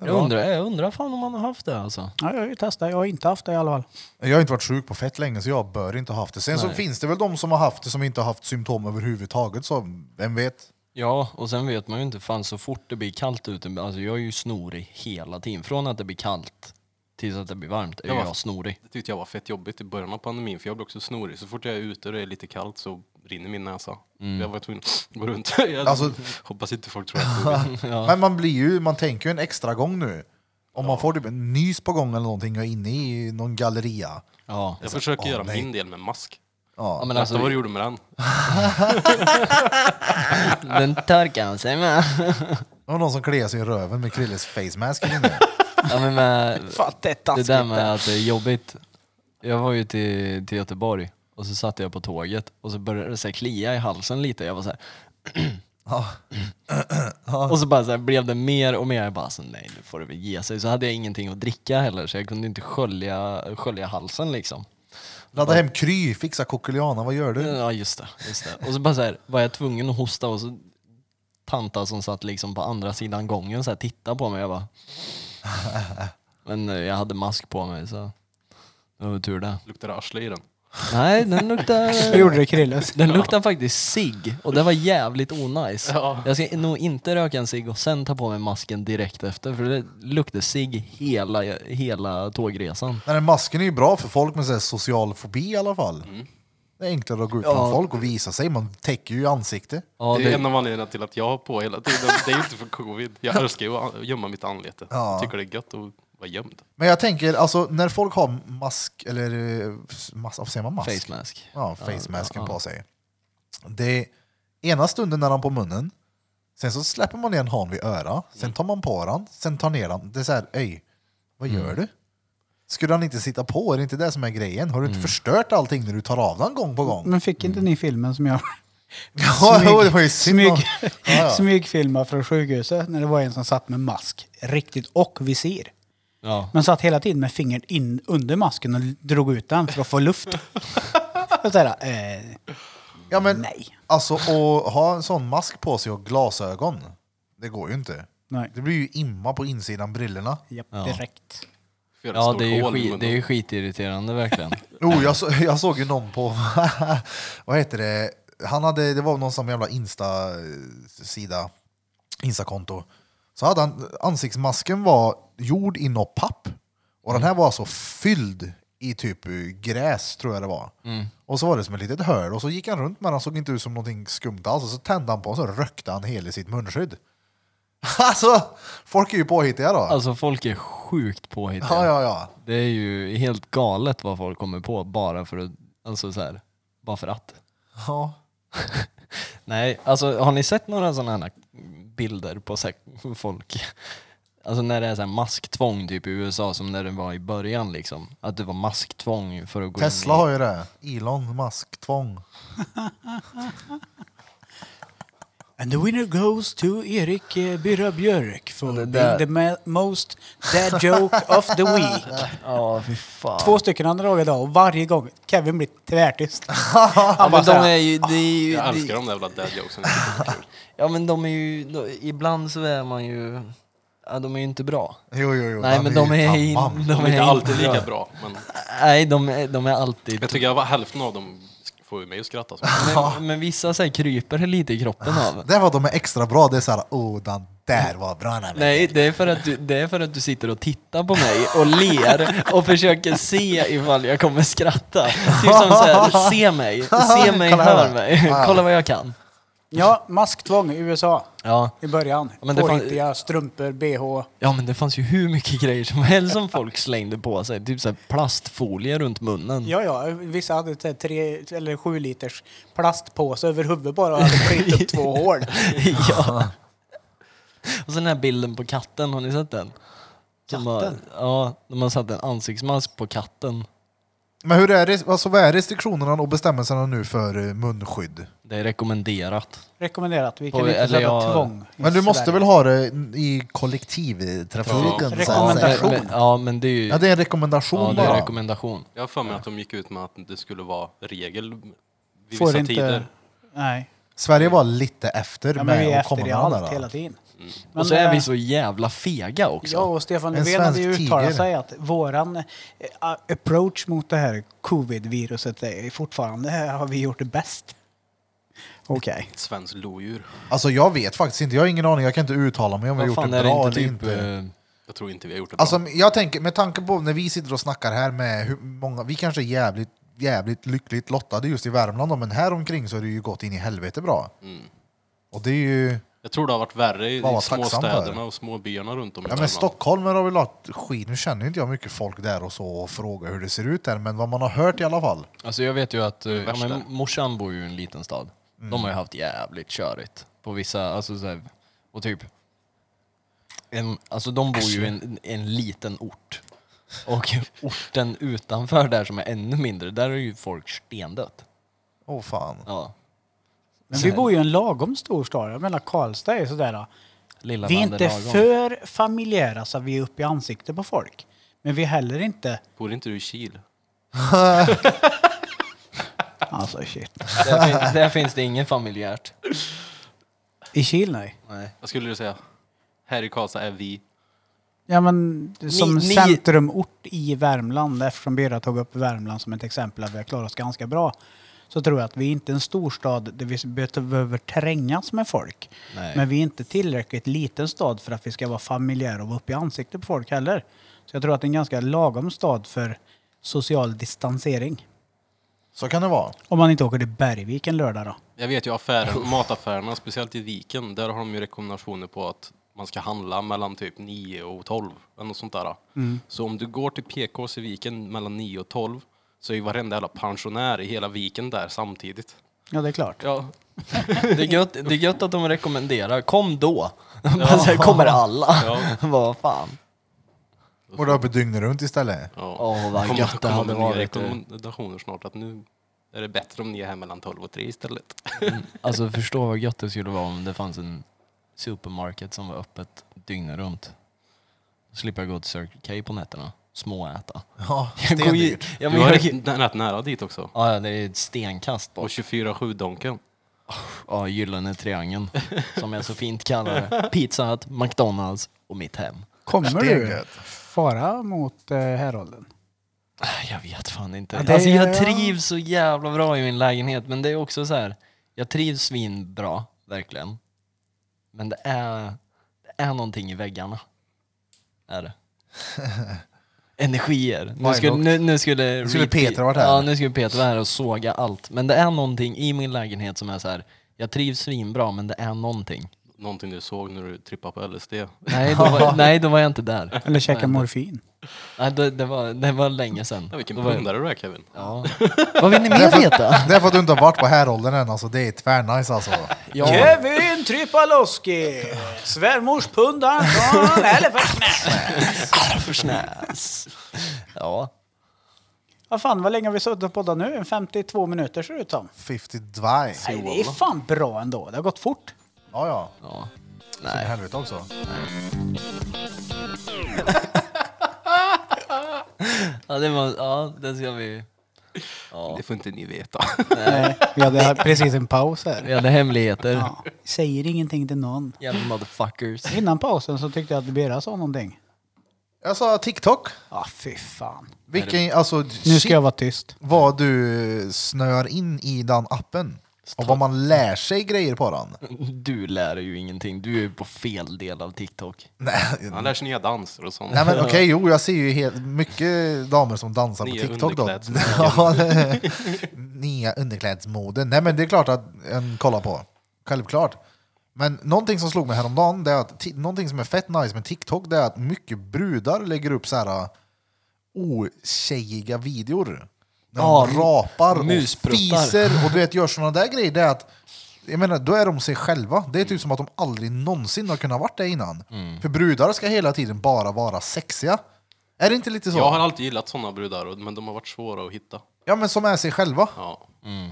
S3: Jag undrar, jag undrar fan om han har haft det alltså.
S2: Ja, jag har ju testat, jag har inte haft det i alla fall.
S1: Jag har inte varit sjuk på fett länge så jag bör inte ha haft det. Sen så finns det väl de som har haft det som inte har haft symptom överhuvudtaget så vem vet?
S3: Ja, och sen vet man ju inte fan så fort det blir kallt ute. Alltså jag är ju snorig hela tiden. Från att det blir kallt tills att det blir varmt är
S4: Ja,
S3: jag
S4: vad-
S3: snorig.
S4: Det tyckte jag var fett jobbigt i början av pandemin för jag blev också snorig. Så fort jag är ute och det är lite kallt så rinner min näsa. Jag var tvungen att gå runt. *laughs* Jag
S1: Alltså-
S4: hoppas inte folk tror att det
S1: *laughs*
S4: är covid.
S1: Men man blir ju, man tänker ju en extra gång nu. Om man får typ en nys på gång eller någonting och är inne i någon galleria.
S3: Ja.
S4: Jag försöker
S1: åh,
S4: göra
S1: Alltså, ah, nej.
S4: min del med mask.
S3: ja
S1: Ja.
S3: men
S4: Berätta
S3: alltså,
S4: vad du gjorde med den.
S3: den torkar han sig med. *laughs*
S1: Det var någon som kliade sig i röven med Krilles face mask
S3: *laughs*
S1: inne.
S3: Ja, men med
S2: Fan, det är
S3: det
S2: taskigt.
S3: där med att det är jobbigt. Jag var ju till, till Göteborg och så satt jag på tåget och så började det så här *clears throat* klia i halsen lite. Jag var så här, Och så bara så här, blev det mer och mer, jag bara så, nej nu får det väl ge sig. Så hade jag ingenting att dricka heller så jag kunde inte skölja, skölja halsen liksom.
S1: Ladda hem Kry, fixa kokuliana, vad gör du?
S3: Ja just det, just det. Och så bara så här, var jag tvungen att hosta och så tanta som satt liksom på andra sidan gången så här tittade på mig. Jag bara... Men eh, jag hade mask på mig så det var väl tur det.
S4: Luktar det arsle i den?
S3: Nej, den
S2: Jag
S3: luktar...
S2: gjorde det Krilles.
S3: Den luktar faktiskt cigg och det var jävligt onajs.
S4: Ja.
S3: Jag ska nog inte röka en cigg och sen ta på mig masken direkt efter för det luktar cigg hela, hela tågresan.
S1: Den här masken är ju bra för folk med så här social fobi i alla fall.
S3: Mm.
S1: Det är enklare att gå ut bland folk och visa sig, man täcker ju ansikte.
S3: Ja,
S4: det är
S3: det,
S4: en av anledningarna till att jag har på hela tiden. Det är ju inte för covid. Jag älskar ju att gömma mitt anlete. Jag tycker det är gött att vara gömd.
S1: Men jag tänker, alltså när folk har mask, eller eh, mas, vad säger man? Mask?
S3: face mask.
S1: Ja, facemasken på sig. Det är ena stunden när han på munnen, sen så släpper man igen han vid öra, sen tar man på den, sen tar ner den. Det är så här, öj, vad gör du? Skulle han inte sitta på? Är det inte det som är grejen? Har du inte förstört allting när du tar av den gång på gång?
S2: Men fick inte ni filmen som jag...
S1: *laughs* Ja, jo, det var ju synd.
S2: smyg,
S3: *laughs*
S1: Ja, ja.
S2: Smygfilma från sjukhuset när det var en som satt med mask, riktigt, och visir.
S3: Ja.
S2: Men satt hela tiden med fingret in under masken och drog ut den för att få
S3: *laughs*
S2: luft. och så här, eh,
S1: Ja, men
S2: Nej.
S1: alltså att ha en sån mask på sig och glasögon, det går ju inte.
S2: nej,
S1: Det blir ju imma på insidan brillorna.
S2: japp,
S3: Ja.
S2: direkt.
S4: För
S3: Ja, det är ju, skit, det är ju skitirriterande
S4: *laughs*
S3: verkligen.
S1: Jo, Oh, jag, så, *laughs* jag såg ju någon på, *laughs* vad heter det, han hade, det var någon sån jävla Insta-sida, Insta-konto. Så hade han, ansiktsmasken var gjord i något papp. Och den här var alltså fylld i typ eh, gräs, tror jag det var. Och så var det som ett litet hål och så gick han runt men han såg inte ut som någonting skumt alls. Och så tände han på och så rökte han hela sitt munskydd. *laughs* Alltså, folk är ju påhittiga då.
S3: Alltså folk är sjukt påhittiga.
S1: ja, ja, ja.
S3: Det är ju helt galet vad folk kommer på bara för att, alltså så här, bara för att.
S1: ja.
S3: Nej, alltså har ni sett några sådana här bilder på så här, folk? Alltså när det är så här masktvång typ i USA som när det var i början liksom. Att det var masktvång för att gå
S1: Tesla
S3: in i...
S1: har ju det. Elon Musk, tvång.
S2: And the winner goes to Erik eh, Byrra Björk for
S3: det
S2: being
S3: där-
S2: the ma- most dead joke of the week.
S3: *laughs* Ja, fy fan.
S2: Två stycken han dragit idag och varje gång Kevin blir tvärtyst.
S3: Ja,
S2: Han bara
S3: men de är
S2: såhär,
S3: ju, det är ju,
S4: Jag
S3: det-
S4: älskar de där jävla dad jokesen. Det är så kul.
S3: Ja men de är ju, de, ibland så är man ju, ja, de är ju inte bra.
S1: Jo, jo, jo.
S3: Nej
S1: han
S3: men de
S1: ju
S3: är, ju-
S1: tamman.
S3: de
S4: De är
S3: är
S4: inte alltid
S3: inte
S4: lika bra, men
S3: Nej, de är, de är alltid...
S4: jag tycker att hälften av dem får ju mig att skratta. Så.
S3: Men, men vissa så här, kryper lite i kroppen av.
S1: Det var de är extra bra. Det är såhär, oh den där var bra. den där."
S3: Nej, det är, för att du, det är för att du sitter och tittar på mig och ler och försöker se ifall jag kommer skratta. Typ som så här, se mig, se mig,
S1: Kolla
S3: hör
S1: här.
S3: mig,
S1: Ja.
S3: kolla vad jag kan.
S2: ja, masktvång i USA
S3: Ja.
S2: i början.
S3: Men det fan-
S2: Påhittiga strumpor, bh.
S3: ja, men det fanns ju hur mycket grejer som helst som folk slängde på sig. Typ så här plastfolie runt munnen.
S2: Ja, Mm. ja, vissa hade så här tre eller sju liters plastpåse över huvudet bara och
S1: *laughs*
S2: hade klippt upp två hål.
S3: *laughs* ja. Och sen den här bilden på katten, har ni sett den? Katten? Bara, ja, de har satt en ansiktsmask på katten.
S1: Men hur är, det, alltså, vad är restriktionerna och bestämmelserna nu för eh, munskydd?
S3: Det är rekommenderat.
S2: Rekommenderat. Vi kan
S3: På-
S2: inte
S3: eller
S2: sätta
S3: jag-
S2: tvång. i
S1: Men du måste
S2: Sverige.
S1: väl ha det i kollektivtrafiken?
S2: Ja.
S1: så att säga.
S2: Rekommendation.
S3: Men, men, ja, men det är ju
S1: Ja,
S3: ja,
S1: det är en rekommendation
S3: det är
S1: bara.
S3: rekommendation.
S4: Jag har för mig att de gick ut med att det skulle vara regel vid vissa
S2: Får inte...
S4: tider.
S2: Nej.
S1: Sverige var lite efter
S2: Ja, men vi är
S1: med att
S2: efter
S1: komma
S2: i
S1: med alla
S2: allt
S1: där.
S2: hela tiden. Men,
S3: Mm. Och så är
S2: eh,
S3: vi så jävla fega också.
S2: Ja, och Stefan
S1: En
S2: Löfven hade ju
S1: svensk
S2: uttalat
S1: tiger.
S2: sig att våran eh, approach mot det här covid-viruset är fortfarande eh, har vi gjort det bäst. Okej.
S4: Ett svenskt lodjur.
S1: Alltså jag vet faktiskt inte, jag har ingen aning, jag kan inte uttala mig om vi har
S3: Vad
S1: gjort
S3: fan
S1: det
S3: är det
S1: bra
S3: inte
S1: eller
S3: typ...
S1: inte.
S3: eh,
S4: Jag tror inte vi har gjort det bra.
S1: Alltså jag tänker, med tanke på när vi sitter och snackar här med hur många, vi kanske är jävligt, jävligt lyckligt lottade just i Värmland då, men här omkring så har det ju gått in i helvete bra. Och det är ju...
S4: jag tror det har varit värre i
S1: Vad var tacksam
S4: småstäderna
S1: för.
S4: och småbyarna runt om i
S1: Ja men
S4: Värmland.
S1: Stockholm har väl lagt skit, nu känner ju inte jag mycket folk där och så och frågar hur det ser ut där, men vad man har hört i alla fall.
S3: Alltså jag vet ju att eh, ja,
S4: värst
S3: men
S4: där.
S3: morsan bor ju i en liten stad. De
S1: Mm.
S3: har ju haft jävligt körigt på vissa, alltså så här, och typ. En, alltså de bor ju i en, en liten ort. Och *laughs* orten utanför där som är ännu mindre, där är ju folk stendött.
S1: Åh fan.
S3: Ja.
S2: Men vi bor ju i en lagom stor stad. Jag menar Karlstad är ju sådär. Då.
S3: Lilla
S2: Vi är
S3: landet
S2: inte
S3: lagom.
S2: för familjära så vi är uppe i ansiktet på folk. Men vi är heller
S3: *laughs*
S2: inte...
S4: Bor inte du i Kil?
S2: Alltså shit.
S1: *laughs*
S3: Där, fin- där finns det inget familjärt.
S2: I Kil nej.
S3: Nej.
S4: Vad skulle du säga? Här i Karlstad är vi.
S2: Ja men som
S3: ni-
S2: centrumort i Värmland, eftersom Birra tog upp Värmland som ett exempel att vi har klarat oss ganska bra. Så tror jag att vi är inte en storstad där vi behöver trängas med folk.
S3: Nej.
S2: Men vi är inte tillräckligt liten stad för att vi ska vara familjära och vara uppe i ansiktet på folk heller. Så jag tror att det är en ganska lagom stad för social distansering.
S1: Så kan det vara.
S2: Om man inte åker till Bergvik en lördag då.
S4: Jag vet ju affären, *laughs* mataffärerna, speciellt i Viken, där har de ju rekommendationer på att man ska handla mellan typ 9 och 12. Eller något sånt där.
S3: Mm.
S4: Så om du går till PKs i Viken mellan 9 och 12 så är ju varenda jävla pensionär i hela Viken där samtidigt.
S2: Ja, det är klart.
S4: Ja,
S3: Det, är gött, det är gött att de rekommenderar. Kom då! *laughs* Men sen kommer alla.
S4: Ja.
S3: *laughs* Vad fan.
S1: Borde vara uppe dygnet runt istället.
S4: Ja.
S3: Åh, vad
S4: Kommer-
S3: gött det
S4: kommer
S3: hade
S4: med nya
S3: varit. eh.
S4: rekommendationer snart att nu är det bättre om ni är här mellan 12 och 3 istället.
S3: Alltså förstå vad gött det skulle vara om det fanns en supermarket som var öppet dygnet runt. Då slipper jag gå till Circle K på nätterna. Småäta.
S1: Ja,
S3: Jag går ju-
S1: stendyrt.
S3: Ja,
S4: du
S3: men
S4: har
S3: jag,
S4: rätt rätt nära dit också.
S3: ja, ja, det är ett stenkast
S4: Och
S3: bort.
S4: 24-7 Donken.
S3: Ja, Gyllene Triangeln, som jag så fint kallar *laughs* det. Pizza Hut, McDonalds och mitt hem.
S2: Kommer du
S1: Steget.
S2: fara mot eh, Härolden?
S3: Äh, Jag vet fan inte.
S2: Ja, det
S3: Alltså
S2: är-
S3: jag trivs så jävla bra i min lägenhet, men det är också så här. Jag trivs svinbra, verkligen. Men det är, det är någonting i väggarna.
S1: *laughs*
S3: Är det. Energier. Nu
S1: Why
S3: skulle,
S1: not?
S3: nu, nu skulle,
S1: Nu skulle Peter varit här.
S3: Ja, nu skulle Peter vara här och såga allt. Men det är någonting i min lägenhet som är så här. Jag trivs svinbra, men det är någonting.
S4: Någonting du såg när du trippade på LSD.
S3: Nej,
S1: *laughs*
S3: då var, nej, då var jag inte där.
S2: Eller käka
S3: Nej,
S2: morfin?
S3: Nej, det, det, var, det var länge sedan.
S4: Ja, vilken
S3: Då var jag-
S4: pundare du är Kevin.
S3: Ja. Vad vill
S1: *laughs*
S3: ni mer veta?
S1: Det är för att du inte har varit på häråldern än alltså. Det är tvärnice alltså.
S3: Ja.
S2: Kevin Tripaloski! Svärmors pundar från Hälleforsnäs!
S3: Snäs. Ja.
S2: Vad fan, vad länge har vi suttit och poddat nu? En 52 minuter ser det ut som.
S1: 50 dvaj.
S2: Nej, det är fan bra ändå. Det har gått fort.
S1: Ja, ja.
S3: ja.
S1: I
S3: Nej.
S1: helvete också.
S3: Ja, det var, ja, det ska vi...
S4: Det får inte ni veta.
S2: Nej, vi hade här precis en paus här.
S3: Vi hade hemligheter.
S2: Ja, säger ingenting till någon.
S3: Jävla motherfuckers.
S2: Innan pausen så tyckte jag att Bera sa någonting.
S1: Jag sa TikTok.
S2: Ja, fy fan.
S1: Vilken, alltså,
S2: Nu
S1: shit
S2: ska jag vara tyst.
S1: vad du snör in i den appen. Och vad man lär sig grejer på den.
S3: Du lär dig ju ingenting. Du är ju på fel del av TikTok.
S1: Nej,
S4: Han lär sig nya danser och sånt.
S1: nej men okej, jo jag ser ju helt, mycket damer som dansar på
S4: Nya
S1: TikTok då.
S4: underklädsmoden.
S1: *laughs* Ja, det- Nya underklädsmoden. Nej men det är klart att en kollar på. Självklart. Men någonting som slog mig häromdagen, det är att ti- någonting som är fett nice med TikTok, det är att mycket brudar lägger upp så här äh, otjejiga videor. När
S3: Ja,
S1: de rapar och
S3: muspruttar.
S1: fiser och du vet, gör sådana där grejer. Det är att, jag menar, då är de sig själva. Det är typ som att de aldrig någonsin har kunnat varit det innan.
S4: Mm.
S1: För brudar ska hela tiden bara vara sexiga. Är det inte lite så?
S4: Jag har alltid gillat sådana brudar, och- men de har varit svåra att hitta.
S1: Ja, men som är sig själva.
S4: Ja.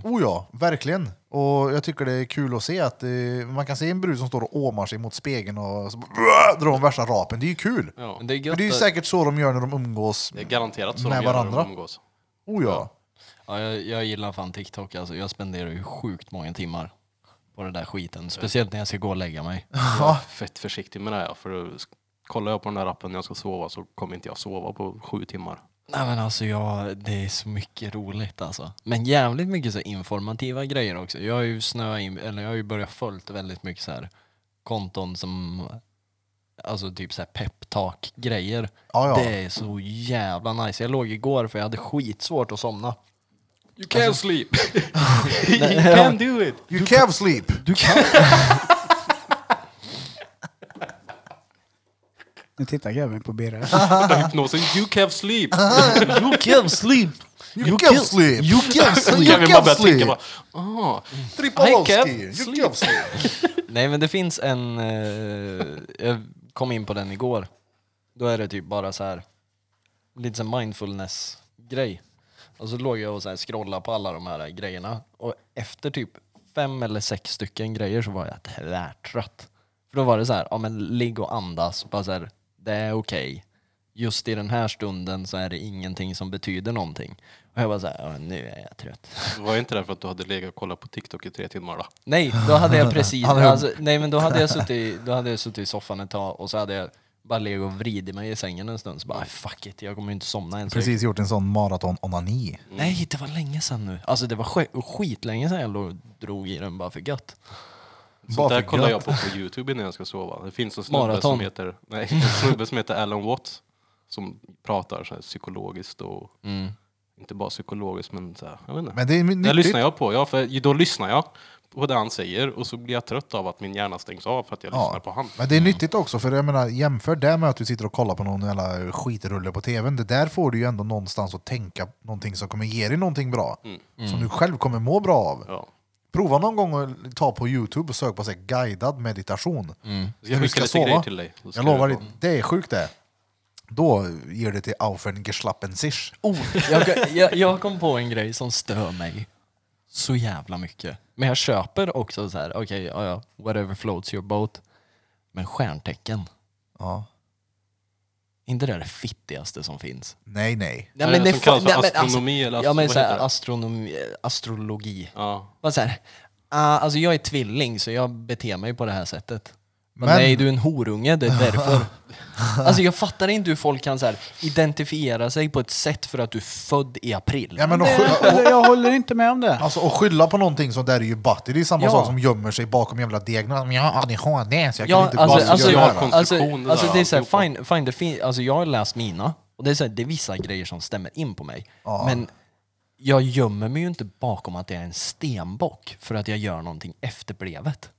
S1: Oh ja, verkligen. Och jag tycker det är kul att se att eh, man kan se en brud som står och åmar sig mot spegeln och så bara, drar de värsta rapen. Det är ju kul.
S4: Ja.
S3: Men det är
S1: För
S3: gött
S1: det är ju
S3: att-
S1: säkert så de gör när de umgås.
S4: Det är garanterat så
S1: Med
S4: de gör när
S1: varandra.
S4: de umgås.
S1: Oh ja.
S3: ja, jag, jag gillar fan TikTok. Alltså, jag spenderar ju sjukt många timmar på den där skiten. Speciellt när jag ska gå och lägga mig.
S4: Jag är fett försiktig med det här, för då sk- kollar jag på den här appen när jag ska sova så kommer inte jag sova på sju timmar.
S3: Nej men alltså jag, det är så mycket roligt alltså. Men jävligt mycket så informativa grejer också. Jag har ju snöat in, eller jag har ju börjat följt väldigt mycket så här konton som, alltså typ så här peptalk grejer.
S1: Ja, ja.
S3: Det är så jävla nice. Jag låg igår för jag hade skitsvårt att somna.
S4: You can *laughs* sleep! Alltså- you can do it!
S1: You can sleep!
S3: Du kan?
S2: Nu tittar Kevin på Bera.
S1: Ah.
S4: Hypnosen, you
S1: *laughs*
S4: can sleep!
S3: You can sleep!
S1: You, can, sleep!
S3: You can
S1: *laughs* You can
S3: sleep!
S4: Kevin bara börjar
S1: sleep.
S4: tänka bara, ah,
S1: Tripolski!
S4: I can
S1: You can sleep!
S3: Nej men det finns en, eh, jag kom in på den igår. Då är det typ bara så här lite så här mindfulness-grej. Och så låg jag och så här scrollade på alla de här grejerna och efter typ fem eller sex stycken grejer så var jag tvärtrött. För då var det så här, ja men ligg och andas, bara så här, det är okej. Just i den här stunden så är det ingenting som betyder någonting. Och jag var så här, ja, nu är jag trött.
S4: Var inte det för att du hade legat och kollat på TikTok i tre timmar då?
S3: Nej, då hade jag precis, alltså, nej men då hade jag suttit, då hade jag suttit i soffan ett tag och så hade jag bara legat och vridit mig i sängen en stund så bara "Ah, fuck it, jag kommer ju inte somna ens. Mm.
S1: Precis gjort en sån maraton-onani.
S3: Nej, det var länge sedan nu. Alltså det var sk- skitlänge sedan jag låg och drog i den bara för gött.
S1: Bara
S4: Så
S1: för
S4: där kollar jag
S1: gött.
S4: på på Youtube innan jag ska sova. Det finns en snubbe,
S3: Maraton.
S4: som heter, nej, en snubbe som heter Alan Watts som pratar så här psykologiskt och
S3: Mm.
S4: inte bara psykologiskt men så här, jag vet inte.
S1: Men det är
S4: det
S1: nyttigt.
S4: lyssnar jag på, ja, för då lyssnar jag på det han säger och så blir jag trött av att min hjärna stängs av för att jag lyssnar på han.
S1: Men det är nyttigt också, för jag menar, jämför det med att du sitter och kollar på någon jävla skitrulle på tvn. Det där får du ju ändå någonstans att tänka någonting som kommer ge dig någonting bra. Som du själv kommer må bra av.
S4: Mm. Ja.
S1: Prova någon gång att ta på Youtube och sök på så här, guidad meditation.
S4: Ska Mm. jag
S1: Du
S4: skicka lite grejer till dig? Så ska
S1: Jag
S4: du
S1: lovar dig,
S4: gå.
S1: det är sjukt det. Då ger det till Aufengeschlappen sich.
S3: Oh, jag, jag, jag kom på en grej som stör mig så jävla mycket. Men jag köper också så här, okej, ja, ja, whatever floats your boat. Men stjärntecken,
S1: Ja.
S3: inte det är det fittigaste som finns.
S1: Nej, nej.
S3: Nej,
S4: Är det som kallas för astronomi eller
S3: ja,
S4: astro-
S3: men
S4: vad
S3: så här, alltså-
S4: heter det?
S3: astronomi, astrologi.
S4: Ja.
S3: Bara så här, ah, alltså jag är tvilling så jag beter mig på det här sättet. Men,
S1: Men-
S3: nej, du är en horunge, det
S1: *laughs*
S3: är därför. alltså jag fattar inte hur folk kan så här, identifiera sig på ett sätt för att du är född i april.
S1: Ja, men och, skylla,
S2: Eller, *laughs* jag håller inte med om det.
S1: alltså, och skylla på någonting sånt där är ju butt. Det är samma
S3: Ja.
S1: sak som gömmer sig bakom jävla diagnos. Men jag har ADHD så jag kan
S3: Ja,
S1: inte
S3: alltså,
S1: bara
S3: alltså,
S1: göra
S4: jag-
S1: det.
S3: alltså,
S4: konstruktion, det
S3: alltså
S4: där
S3: det är så
S4: alltihopa.
S3: här, fine, fine, det fin- alltså jag har läst mina och det är, så här, det är vissa grejer som stämmer in på mig. Men jag gömmer mig ju inte bakom att jag är en stenbock för att jag gör någonting efterblevet.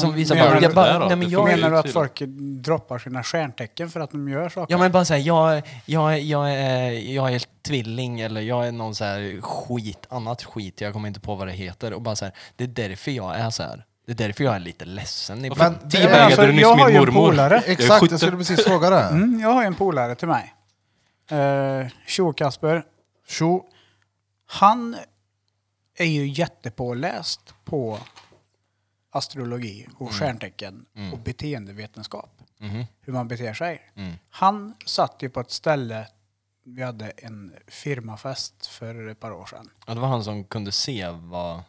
S3: Som vissa
S2: menar
S3: bara,
S2: du
S3: jag
S4: det
S3: bara,
S4: då?
S3: nej men
S4: Det
S3: jag,
S4: får
S2: Menar
S4: ju
S2: du att
S4: till.
S2: folk droppar sina stjärntecken för att de gör saker?
S3: Ja men bara såhär, jag, jag, jag, är- jag är tvilling eller jag är någon så här skit, annat skit, jag kommer inte på vad det heter. Och bara så här, det är därför jag är så här. Det är därför jag är lite ledsen ibland.
S1: Men-
S4: Tio
S1: Ja,
S4: vägar,
S2: för
S4: du är nyss
S2: jag har
S4: min
S2: ju en
S4: mormor.
S2: polare.
S4: Jag är
S1: Exakt,
S4: skytte.
S1: jag skulle precis fråga
S3: *laughs*
S1: det.
S2: Mm, jag har ju en polare till mig. Eh, Tjo Kasper.
S1: Tjo,
S2: Han är ju jättepåläst på astrologi och stjärntecken och beteendevetenskap. Hur man beter sig. Han satt ju på ett ställe, vi hade en firmafest för ett par år sedan.
S3: Ja, det var han som kunde se vad...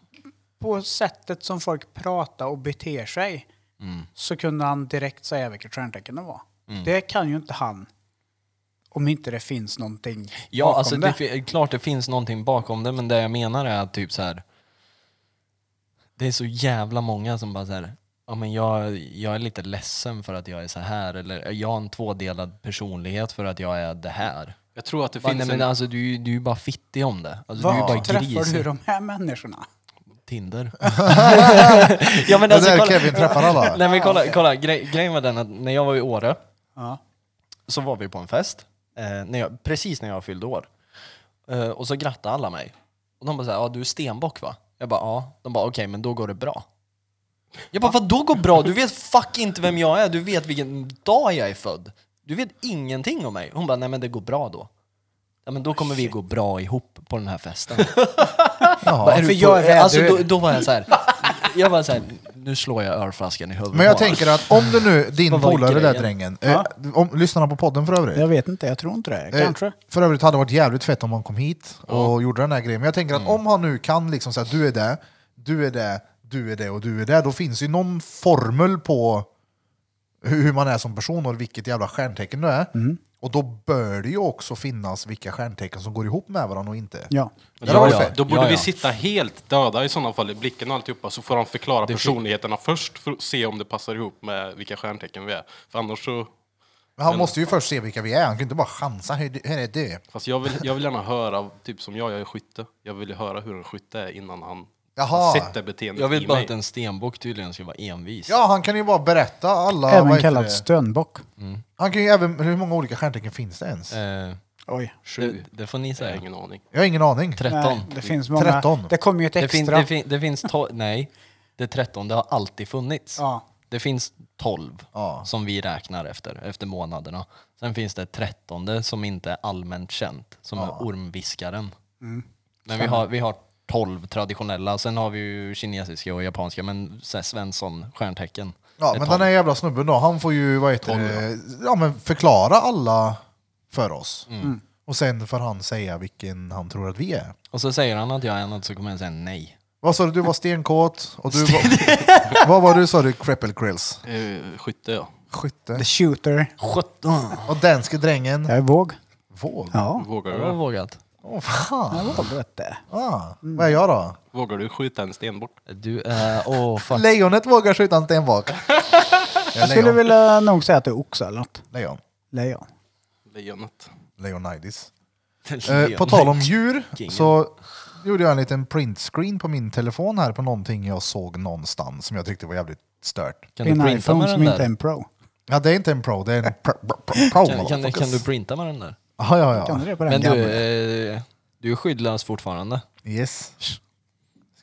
S2: På sättet som folk pratar och beter sig
S3: Mm.
S2: så kunde han direkt säga vilket stjärntecken det var. Det kan ju inte han om inte det finns någonting
S3: Ja,
S2: bakom
S3: alltså
S2: det.
S3: det, fi- klart det finns någonting bakom det, men det jag menar är att typ så här. Det är så jävla många som bara så här, ja men jag, jag är lite ledsen för att jag är så här eller jag har en tvådelad personlighet för att jag är det här.
S4: Jag tror att det
S3: Bara,
S4: finns
S3: nej,
S4: en...
S3: men alltså du, är ju- du är ju bara fittig om det. Alltså, du är ju
S2: Var
S3: bara
S2: träffar
S3: gris.
S2: du de här människorna?
S1: *laughs*
S3: Tinder. *laughs* ja, men
S1: det
S3: alltså,
S1: där
S3: kolla,
S1: Kevin träffar alla.
S3: nej men kolla, kolla grej, grejen var den att när jag var i Åre
S2: Ja.
S3: så var vi på en fest, eh, när jag, precis när jag fyllde år. Eh, och så grattade alla mig. Och de bara såhär, ja du är stenbock va? Jag bara, ja. De bara, okej men då går det bra. Jag bara, vad då går bra? Du vet fuck inte vem jag är, du vet vilken dag jag är född. Du vet ingenting om mig. Hon bara, nej men det går bra då. Ja men då kommer vi gå bra ihop på den här festen. Vad
S1: Jaha.
S3: är du
S2: för
S3: på-
S2: jag är rädd.
S3: alltså, då, då var jag så här. jag var så här, nu slår jag ölflaskan i huvudet
S1: Men jag
S3: på honom.
S1: tänker att om du nu, din
S3: Vad var
S1: polare där
S3: grejen?
S1: drängen, eh, om, lyssnar han på podden för övrigt?
S2: Jag vet inte, jag tror inte det.
S1: Eh,
S2: Kanske.
S1: För övrigt hade det varit jävligt fett om han kom hit och gjorde den här grejen. Men jag tänker att
S2: Mm.
S1: om han nu kan liksom säga att du är det, du är det, du är det och du är det, då finns ju någon formel på hur hur man är som person och vilket jävla stjärntecken du är.
S2: Mm.
S1: Och då bör det ju också finnas vilka stjärntecken som går ihop med varandra och inte.
S2: Ja.
S4: Men
S3: Ja,
S4: då,
S3: ja.
S4: då borde
S3: Ja,
S4: vi
S3: ja.
S4: sitta helt döda i sådana fall i blicken och alltihopa så får han förklara personligheterna först för att se om det passar ihop med vilka stjärntecken vi är. För annars så...
S1: Men han måste ju först se vilka vi är, han kan ju inte bara chansa. Hur, hur är det?
S4: Fast jag vill, jag vill gärna höra, typ som jag, jag är skytte. Jag vill ju höra hur en skytte är innan han
S1: Jaha.
S4: sätter beteendet
S3: Jag
S4: i
S3: vet bara
S4: mig.
S3: att en stenbock tydligen ska vara envis.
S1: Ja, han kan ju bara berätta alla... vad
S2: Även
S1: heter
S2: kallad
S1: det?
S2: stönbock.
S1: Han kan ju även... Hur många olika stjärntecken finns det ens?
S3: Eh,
S2: Oj.
S3: det,
S4: Sju.
S3: det får ni
S4: Jag har
S3: säga.
S4: ingen aning.
S1: Jag har ingen aning.
S2: Nej,
S3: 13.
S2: det finns många.
S1: 13.
S2: Det kommer ju ett
S3: Det, fin,
S2: extra.
S3: det, fin, det finns 12, nej. Det 13, det har alltid funnits.
S2: Ja.
S3: Det finns 12
S1: Ja.
S3: som vi räknar efter, efter månaderna. Sen finns det
S2: Mm.
S3: 13 som inte är allmänt känt, som är ormviskaren. Men vi har, vi har 12 traditionella. Sen har vi ju kinesiska och japanska, men så här Svensson, stjärntecken.
S1: Ja,
S3: Ett
S1: men
S3: par.
S1: den här jävla snubben då, han får ju vad heter
S3: Tolv,
S1: det, ja, men förklara alla för oss.
S3: Mm.
S1: Och sen får han säga vilken han tror att vi är.
S3: Och så säger han att jag är något så kommer jag säga nej.
S1: Vad sa du, du var stenkåt och du var... *laughs* vad var du sa du, cripple grills?
S4: Eh, skytte ja.
S1: Skytte.
S2: The shooter.
S3: 17!
S1: Och danske drängen,
S2: Jag är våg.
S1: våg.
S2: Ja.
S4: Vågar
S3: Det var
S4: du?
S3: vågat.
S1: Åh fan.
S2: Jag våg vet du.
S1: Ah, vad är jag då?
S4: Vågar du skjuta en sten bort?
S3: Du är... Åh, fuck.
S1: Lejonet vågar skjuta en stenbock.
S3: *laughs*
S1: Jag
S2: Jag skulle
S1: lejon.
S2: vilja nog säga att du är oxe eller något.
S1: Lejon.
S2: Lejon.
S4: Lejonet.
S1: Leonidas. Eh,
S3: Lejon.
S1: på tal om djur
S3: Kingen.
S1: så gjorde jag en liten printscreen på min telefon här på någonting jag såg någonstans som jag tyckte var jävligt stört.
S3: Kan du
S2: Din
S3: printa
S2: iPhone
S3: med
S2: som
S3: den
S2: inte är
S3: där?
S2: en pro.
S1: Ja, det är inte en pro, det är en pr- pr- pr- pro.
S3: Kan, kan, kan du printa med den där?
S1: Ja, ja,
S2: Kan du
S1: ja.
S2: det på den
S3: Men du,
S2: gamla?
S3: eh, du är skyddlös fortfarande.
S1: Yes. Ska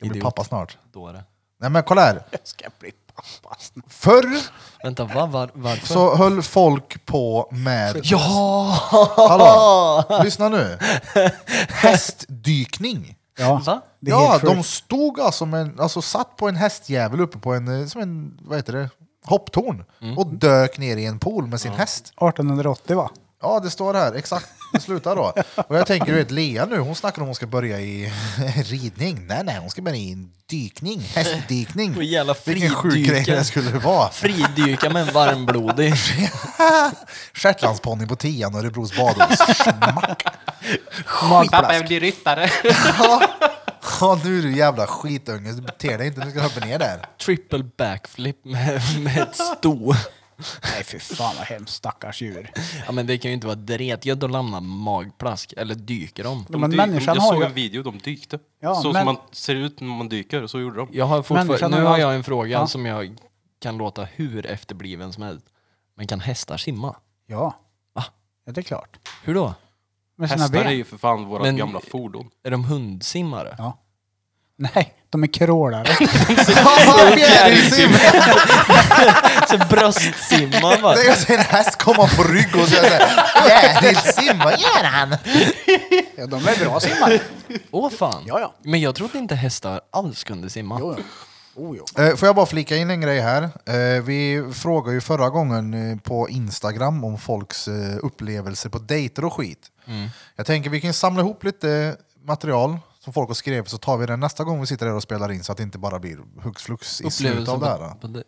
S1: bli
S3: Idiot.
S1: pappa snart.
S3: Dåre.
S1: Nej men kolla här.
S2: Jag ska bli pappa snart.
S1: Förr
S3: Vänta, va? Var, varför?
S1: så höll folk på med...
S3: *laughs* Ja!
S1: Hallå! Lyssna nu. Hästdykning.
S2: Ja,
S3: Va?
S2: det är
S1: ja,
S2: helt
S1: de
S2: sjukt.
S1: stod alltså, med, en- alltså satt på en hästjävel uppe på en, eh, som en vad heter det, hopptorn
S2: Mm.
S1: och dök ner i en pool med sin häst.
S2: 1880 va?
S1: Ja, det står här. Exakt. Det slutar
S2: *laughs*
S1: då. Och jag tänker, du vet, Lea nu, hon snackar om hon ska börja i *laughs* ridning. Nej, nej, hon ska börja i en dykning.
S2: *laughs*
S1: Hästdykning.
S3: Och jävla
S1: Vilken sjuk grej
S3: fridyka.
S1: det skulle vara.
S3: Fridyka med en varmblodig.
S1: *laughs* Shetlandsponny på tian, Örebros badhus. *laughs* Smack.
S2: Magplask.
S4: jag blir ryttare!
S1: Ja. Ja, nu du jävla skitunge. Bete dig inte, nu ska du hoppa ner
S2: *laughs*
S1: där.
S3: Triple backflip med, med ett sto.
S2: Nej fy fan vad hemskt stackars djur.
S3: Ja, men det kan ju inte vara dretgött att lämna magplask, eller dyker de?
S4: De
S2: Men
S4: dyk-
S2: människan
S4: jag
S2: har
S4: såg
S2: ju-
S4: en video, de dykte.
S2: Ja,
S4: så
S2: men-
S4: som man ser ut när man dyker, så gjorde de.
S3: Jag har fortfarande,
S2: Människan
S3: nu
S2: har ju
S3: har
S2: allt-
S3: jag en fråga
S2: Ja.
S3: som jag kan låta hur efterbliven som helst. Men kan hästar simma?
S2: Ja.
S3: Va?
S2: Ja det är klart.
S3: Hör då?
S2: Med sina
S4: Hästar är
S2: ben?
S4: ju för fan våra
S3: Men-
S4: gamla fordon.
S3: Är de hundsimmare?
S2: Ja. Nej, de är
S4: *laughs*
S2: crawlare.
S1: Fjärilsim!
S3: Så Alltså
S2: *laughs*
S3: bröstsimmar va?
S1: Det är ju så en häst komma på rygg och säga fjärilsim, vad gör han?
S2: ja, de är bra simmare.
S3: Åh fan.
S2: Ja, ja.
S3: Men jag trodde inte hästar alls kunde simma.
S2: Jo, jo. Oh, jo.
S1: Eh, Får jag bara flika in en grej här? Eh, Vi frågade ju förra gången eh, på Instagram om folks eh, upplevelser på dejter och skit. Jag tänker vi kan samla ihop lite material som folk har skrivit så tar vi det nästa gång vi sitter här och spelar in så att det inte bara blir hux flux i slutet av det här. då.
S3: på, på det.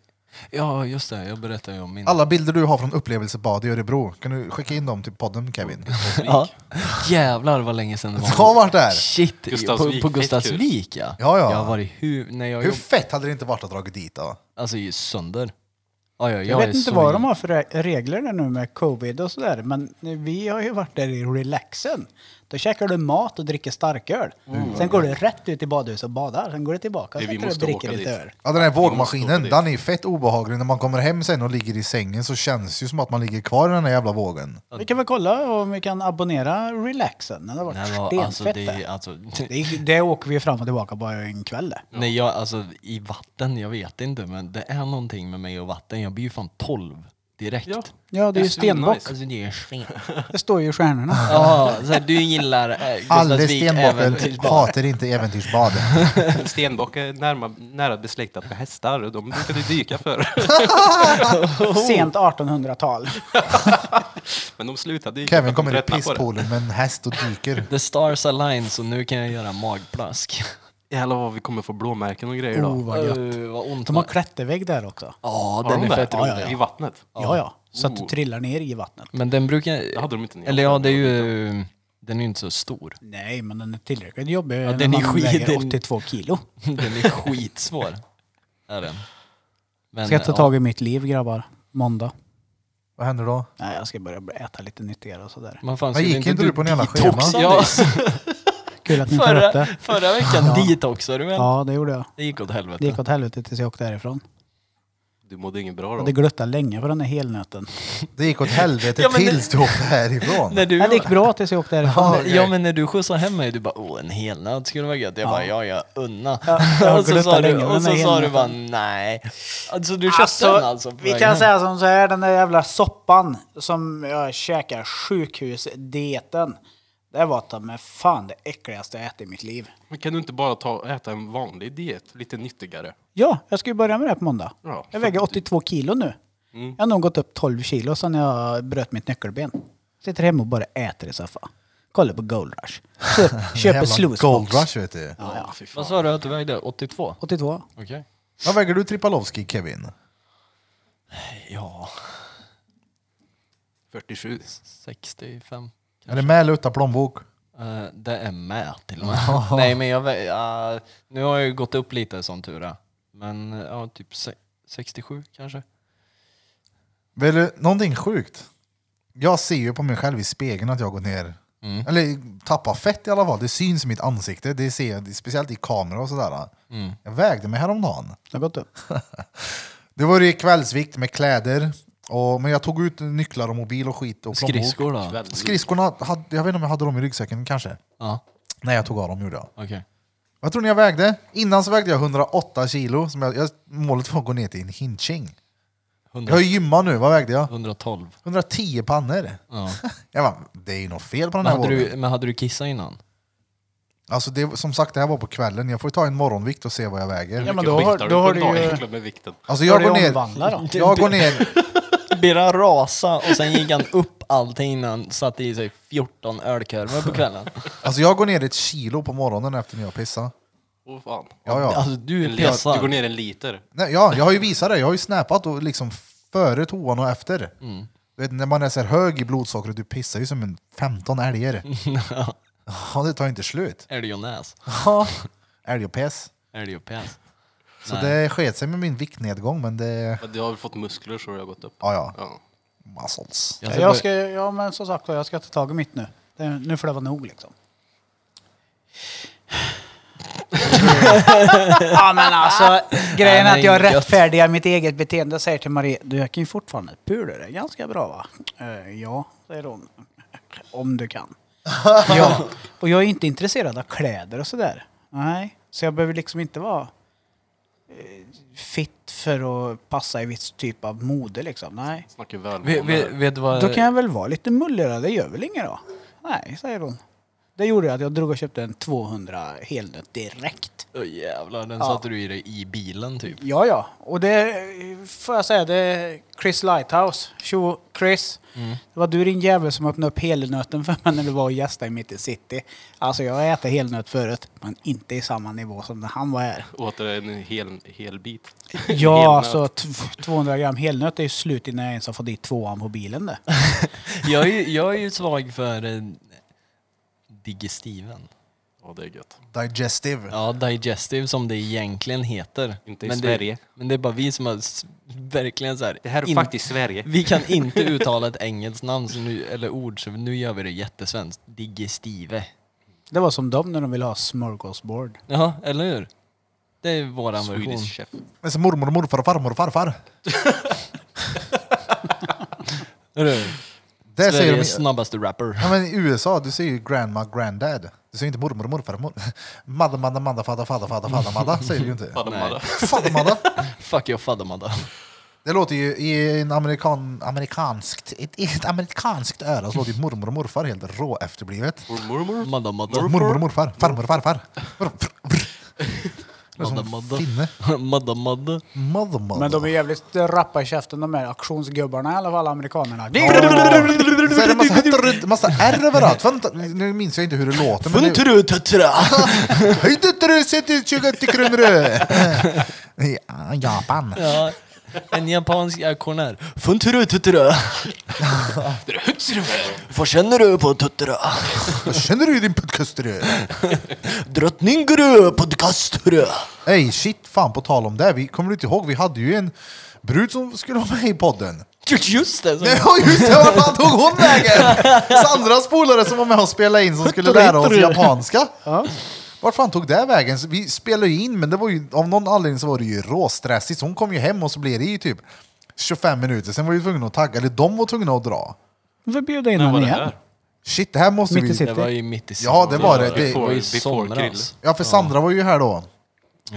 S3: Ja, just det. Jag berättade ju om min...
S1: Alla bilder du har från upplevelsebad i Örebro, kan du skicka in dem till podden Kevin?
S3: Ja. Jävlar vad länge sedan det var.
S1: Har varit där!
S3: Shit,
S4: Gustavsvik,
S3: på,
S4: fett
S3: på Gustavsvik ja.
S1: Ja, ja.
S3: Jag har varit hur... När jag
S1: Hur
S3: jobb...
S1: fett hade det inte varit att dra dit då?
S3: Alltså ju sönder. Ja, ja, jag
S2: Jag
S3: är
S2: vet inte
S3: så-
S2: vad de har för re- regler där nu med covid och sådär, men vi har ju varit där i relaxen. Då käkar du mat och dricker starköl.
S4: Mm.
S2: Sen går du rätt ut i badhuset och badar, sen går du tillbaka och
S4: Nej, vi
S2: sätter dig och dricker
S4: måste åka
S2: lite
S4: dit.
S2: öl.
S1: Ja, den här
S4: Jag
S1: vågmaskinen,
S4: måste stå på
S1: den är fett obehaglig. När man kommer hem sen och ligger i sängen så känns det ju som att man ligger kvar i den här jävla vågen.
S2: Vi kan väl kolla om vi kan abonnera relaxen. Den har varit
S3: Nej, vad, alltså,
S2: stenfett
S3: det,
S2: det...
S3: är- alltså, *laughs*
S2: Det, det åker vi fram och tillbaka bara en kväll. det.
S3: Nej, jag, alltså i vatten, jag vet inte, men det är någonting med mig och vatten. Jag blir ju fan 12 direkt.
S4: Ja.
S2: Ja, det är ju stenbock.
S4: svinnice.
S3: Alltså det är
S1: *laughs*
S3: sten.
S2: Det står ju i *laughs* stjärnorna.
S3: Ja, så här, du gillar eh,
S1: Alla
S3: Gustavsvik
S1: stenbockar
S3: äventyrsbad.
S1: hatar inte äventyrsbad.
S4: *laughs* Stenbock är närma, nära besläktat med hästar och de brukade dyka förr.
S2: Sent 1800-tal.
S4: Men de slutade dyka för
S1: Kevin
S4: att de
S1: kommer i
S4: tröttnade på det.
S1: pisspoolen med en häst och dyker.
S3: The stars align, så nu kan jag göra magplask. *laughs*
S4: Jävlar vad vi kommer få blåmärken och grejer
S2: Oh,
S4: idag.
S2: vad gött.
S3: Eh, vad ont.
S2: De har
S3: man-
S2: klättervägg där också.
S3: Ja,
S4: Har
S3: den
S4: de
S3: är
S4: det?
S3: fett rolig.
S4: Ja, ja, ja. I vattnet?
S2: Ja, ja. Så att du
S4: Oh.
S2: trillar ner i vattnet.
S3: Men den brukar...
S4: Det hade de inte när jag
S3: Eller ja,
S4: var
S3: det är ju... Den är ju inte så stor.
S2: Nej, men den är tillräckligt jobbig. Ja,
S3: den är skit-
S2: väger
S3: den-
S2: 82 kilo.
S3: *laughs* Den är skitsvår. Är den. Men,
S2: Ska jag ta
S3: ja.
S2: tag i mitt liv grabbar? Måndag.
S1: Vad händer då?
S2: Nej, jag ska börja äta lite nyttigare och sådär.
S3: Men fan,
S1: Men
S3: skulle
S1: gick inte du på en jävla schema?
S3: detoxa *laughs*
S4: Ja.
S3: nyss?
S2: Kul att ni tar upp
S3: förra,
S2: det.
S3: förra veckan detoxade du väl?
S2: Ja, det gjorde jag.
S3: Det gick åt helvete.
S2: Det gick åt helvete tills jag åkte därifrån.
S4: Du mådde inget bra
S2: Och
S4: då.
S2: det gluttade länge på den där helnöten.
S1: Det gick åt helvete
S3: Ja, men det-
S1: tills du åkte
S3: *laughs*
S1: härifrån.
S3: När du,
S2: Nej, det gick bra tills jag åkte därifrån.
S1: Ja,
S3: Ja,
S1: okej.
S3: men när du skjutsade hem mig, du bara åh en helnöt skulle vara gött. Jag bara ja, ja, unna.
S2: jag
S3: *laughs* och så
S2: gluttar
S3: sa
S2: länge
S3: du,
S2: med
S3: och
S2: den
S3: så
S2: här
S3: sa du
S2: helnöten.
S3: bara nej. Alltså du köpte den alltså? på
S2: vi
S3: vägen
S2: kan
S3: hem.
S2: säga som så här, den där jävla soppan som jag käkar, sjukhusdieten. Det var ta mig fan det äckligaste jag ätit i mitt liv.
S4: Men kan du inte bara ta, äta en vanlig diet, lite nyttigare?
S2: Ja, jag ska ju börja med det här på måndag.
S4: Ja,
S2: jag väger 82 kilo nu. Jag har nog gått upp 12 kilo sedan jag bröt mitt nyckelben. Sitter hemma och bara äter i soffan. Kollar på Gold Rush. Köp, köper
S1: Jävla Gold
S2: sluicebox.
S1: Rush vet du.
S4: Ja, fy fan.
S3: Vad sa du att du vägde? 82?
S2: 82.
S3: Okej.
S1: Vad väger du Tripalovski Kevin?
S3: Ja,
S4: 47.
S3: 65.
S1: Är det med eller utan plånbok?
S3: Eh, det är med till och med. *laughs* Nej men jag vä- ja, Nu har jag ju gått upp lite som tur är. Men eh, ja, typ se- 67 kanske.
S1: Vill du, någonting sjukt. Jag ser ju på mig själv i spegeln att jag går ner. Eller tappar fett i alla fall. Det syns i mitt ansikte. Det ser jag speciellt i kamera och sådär. Jag vägde mig häromdagen.
S2: Det har gått upp.
S1: Det var ju kvällsvikt med kläder. Och, men jag tog ut nycklar och mobil och skit och plånbok.
S3: Skridskor då?
S4: Väldigt.
S1: Skridskorna, hade, jag vet inte om jag hade dem i ryggsäcken kanske.
S3: Ja,
S1: Nej, jag tog av dem gjorde jag.
S3: okej.
S1: Vad tror ni jag vägde? Innan så vägde jag 108 kilo. Som jag, jag, målet var att gå ner till en hinching. Jag
S3: 100
S1: har gymmat nu, vad vägde jag?
S3: 112.
S1: 110 pannor.
S3: *laughs* Ja.
S1: Jag bara, det är ju något fel på den
S3: Men,
S1: här
S3: hade
S1: vågen.
S3: du, men hade du kissat innan?
S1: Alltså det, som sagt, det här var på kvällen. Jag får ju ta en morgonvikt och se vad jag väger.
S2: Ja, men
S4: Vilken
S2: då har-
S4: skiftar
S2: då har
S4: på
S2: du
S4: en dag
S2: ju-
S4: egentligen med vikten?
S1: Alltså
S2: Har
S1: jag
S2: det
S1: går
S2: omvandla då?
S1: ner... *laughs* Jag går ner...
S3: Birra rasa och sen gick han upp allting innan satte i sig 14 ölkorvar på kvällen.
S1: Alltså jag går ner ett kilo på morgonen efter när jag pissar.
S4: Åh fan.
S1: Ja, ja.
S3: Alltså du
S4: En
S3: är
S4: liter-
S3: pessad.
S4: Du går ner en liter.
S1: Nej, ja, jag har ju visat det. Jag har ju snäpat och liksom före toan och efter. Du vet, när man är så här hög i blodsockret, du pissar ju som en 15 älgar. Ja, det tar ju inte slut.
S3: Älg och näs.
S1: Ja, älg och piss.
S3: Älg och päs.
S1: Så
S3: Nej.
S1: det sket sig med min viktnedgång, men det...
S4: Ja, Du har väl fått muskler så det har gått upp.
S1: Ja, ja.
S4: Ja.
S1: Muscles.
S3: Jag
S2: Jag
S3: ska...
S2: ska, ja men som sagt jag ska ta tag i mitt nu. Det, nu får det vara nog liksom. ja men alltså grejen är att jag
S3: gött.
S2: rättfärdigar mitt eget beteende. Jag säger till Marie, du jag kan ju fortfarande pula dig ganska bra va? "Eh, ja, säger hon. *laughs* Om du kan. ja, och jag är inte intresserad av kläder och sådär. Nej, så jag behöver liksom inte vara eh, fit för att passa i viss typ av mode liksom. Nej.
S4: Snackar väl
S3: vet, vet, vet du vad...
S2: Då kan jag väl vara lite mulligare, det gör väl inget då? Nej, säger hon. Det gjorde jag, att jag drog och köpte en 200 helnöt direkt.
S3: Åh, jävlar, den satte du i dig i bilen typ.
S2: Ja, ja. Och det eh, får jag säga, det är Chris Lighthouse. Tjo Chris. Det var du din jävel som öppnade upp helnöten för mig när du var och gästade i mitt i city. Alltså jag har ätit helnöt förut, men inte i samma nivå som när han var här.
S4: Åt dig en hel, hel bit.
S2: *laughs* Ja,
S4: Helnöt.
S2: alltså t- 200 gram helnöt är ju slut innan jag ens har fått i tvåan på bilen det.
S3: *laughs* Jag är, ju- jag är ju svag för eh,
S4: *laughs*
S3: digestiven.
S4: Ja, det är gött.
S1: Digestive.
S3: Ja, digestive som det egentligen heter.
S4: Inte i
S3: men
S4: Sverige.
S3: Det, men det är bara vi som har s- verkligen så här...
S4: Det här är
S3: in-
S4: faktiskt Sverige.
S3: Vi kan inte uttala ett engelskt namn så nu, eller ord, så nu gör vi det jättesvenskt. Digestive.
S2: Det var som dem när de ville ha smörgåsbord.
S3: Ja, eller hur? Det är våran version.
S4: Swedish chef.
S1: Men så mormor, och morfar, och farmor och farfar.
S3: Hörru,
S1: Det säger de,
S3: Sveriges snabbaste rapper. *laughs*
S1: Ja, men I USA, du säger ju grandma, granddad. Du säger inte mormor, morfar, mor... *laughs* Madda, madda, madda, fadda, fadda, fadda, fadda, madda, säger du ju inte.
S4: Fan, de hade-
S1: Fadda, madda.
S3: Fuck your faddermadda.
S1: Det låter ju i en amerikan, amerikanskt, ett, i ett amerikanskt öra så låter ju mormor och morfar helt rå efterblivet.
S4: Mormor, mormor.
S3: Madda, madda.
S1: Mormor och morfar, farmor och farfar. Det är
S3: Madda,
S1: som
S3: madda.
S1: finne.
S3: Madda, madda.
S1: Mother,
S2: Men
S1: mother.
S2: de är jävligt rappa i käften de här auktionsgubbarna i alla fall, amerikanerna.
S1: Så är det massa hötter, massa R överallt. Vänta, Nu minns jag inte hur det låter. men det-
S3: Funtrututtra!
S1: Höjdetru, sätter 20 kronor. *laughs* I Japan.
S3: Ja, en japansk auktionär. Funtrututtra! Vad känner du på tuttra?
S1: Vad Känner du i din podcast? du?
S3: Drottninggru podcastru!
S1: Ey shit, fan på tal om det. Vi, kommer du inte ihåg? Vi hade ju en brud som skulle vara med i podden.
S3: Just det!
S1: Nej,
S3: Så.
S1: ja, just det, vart fan tog hon vägen? Sandras polare som var med och spelade in som skulle lära oss japanska. Vart fan tog det vägen? Så Vi spelade ju in, men det var ju, av någon anledning så var det ju råstressigt. Så hon kom ju hem och så blev det ju typ 25 minuter. Sen var vi tvungna att tagga, eller de var tvungna att dra.
S2: Vi bjuder in
S4: När var
S2: honom
S4: det
S2: igen.
S4: här?
S1: Shit, det här måste
S2: Mitt i
S1: vi...
S2: city.
S3: Det var ju mitt i
S1: Ja, det var det.
S3: Det
S1: det
S3: var ju
S4: Before- before grill.
S3: somras.
S1: ja, för Sandra var ju här då.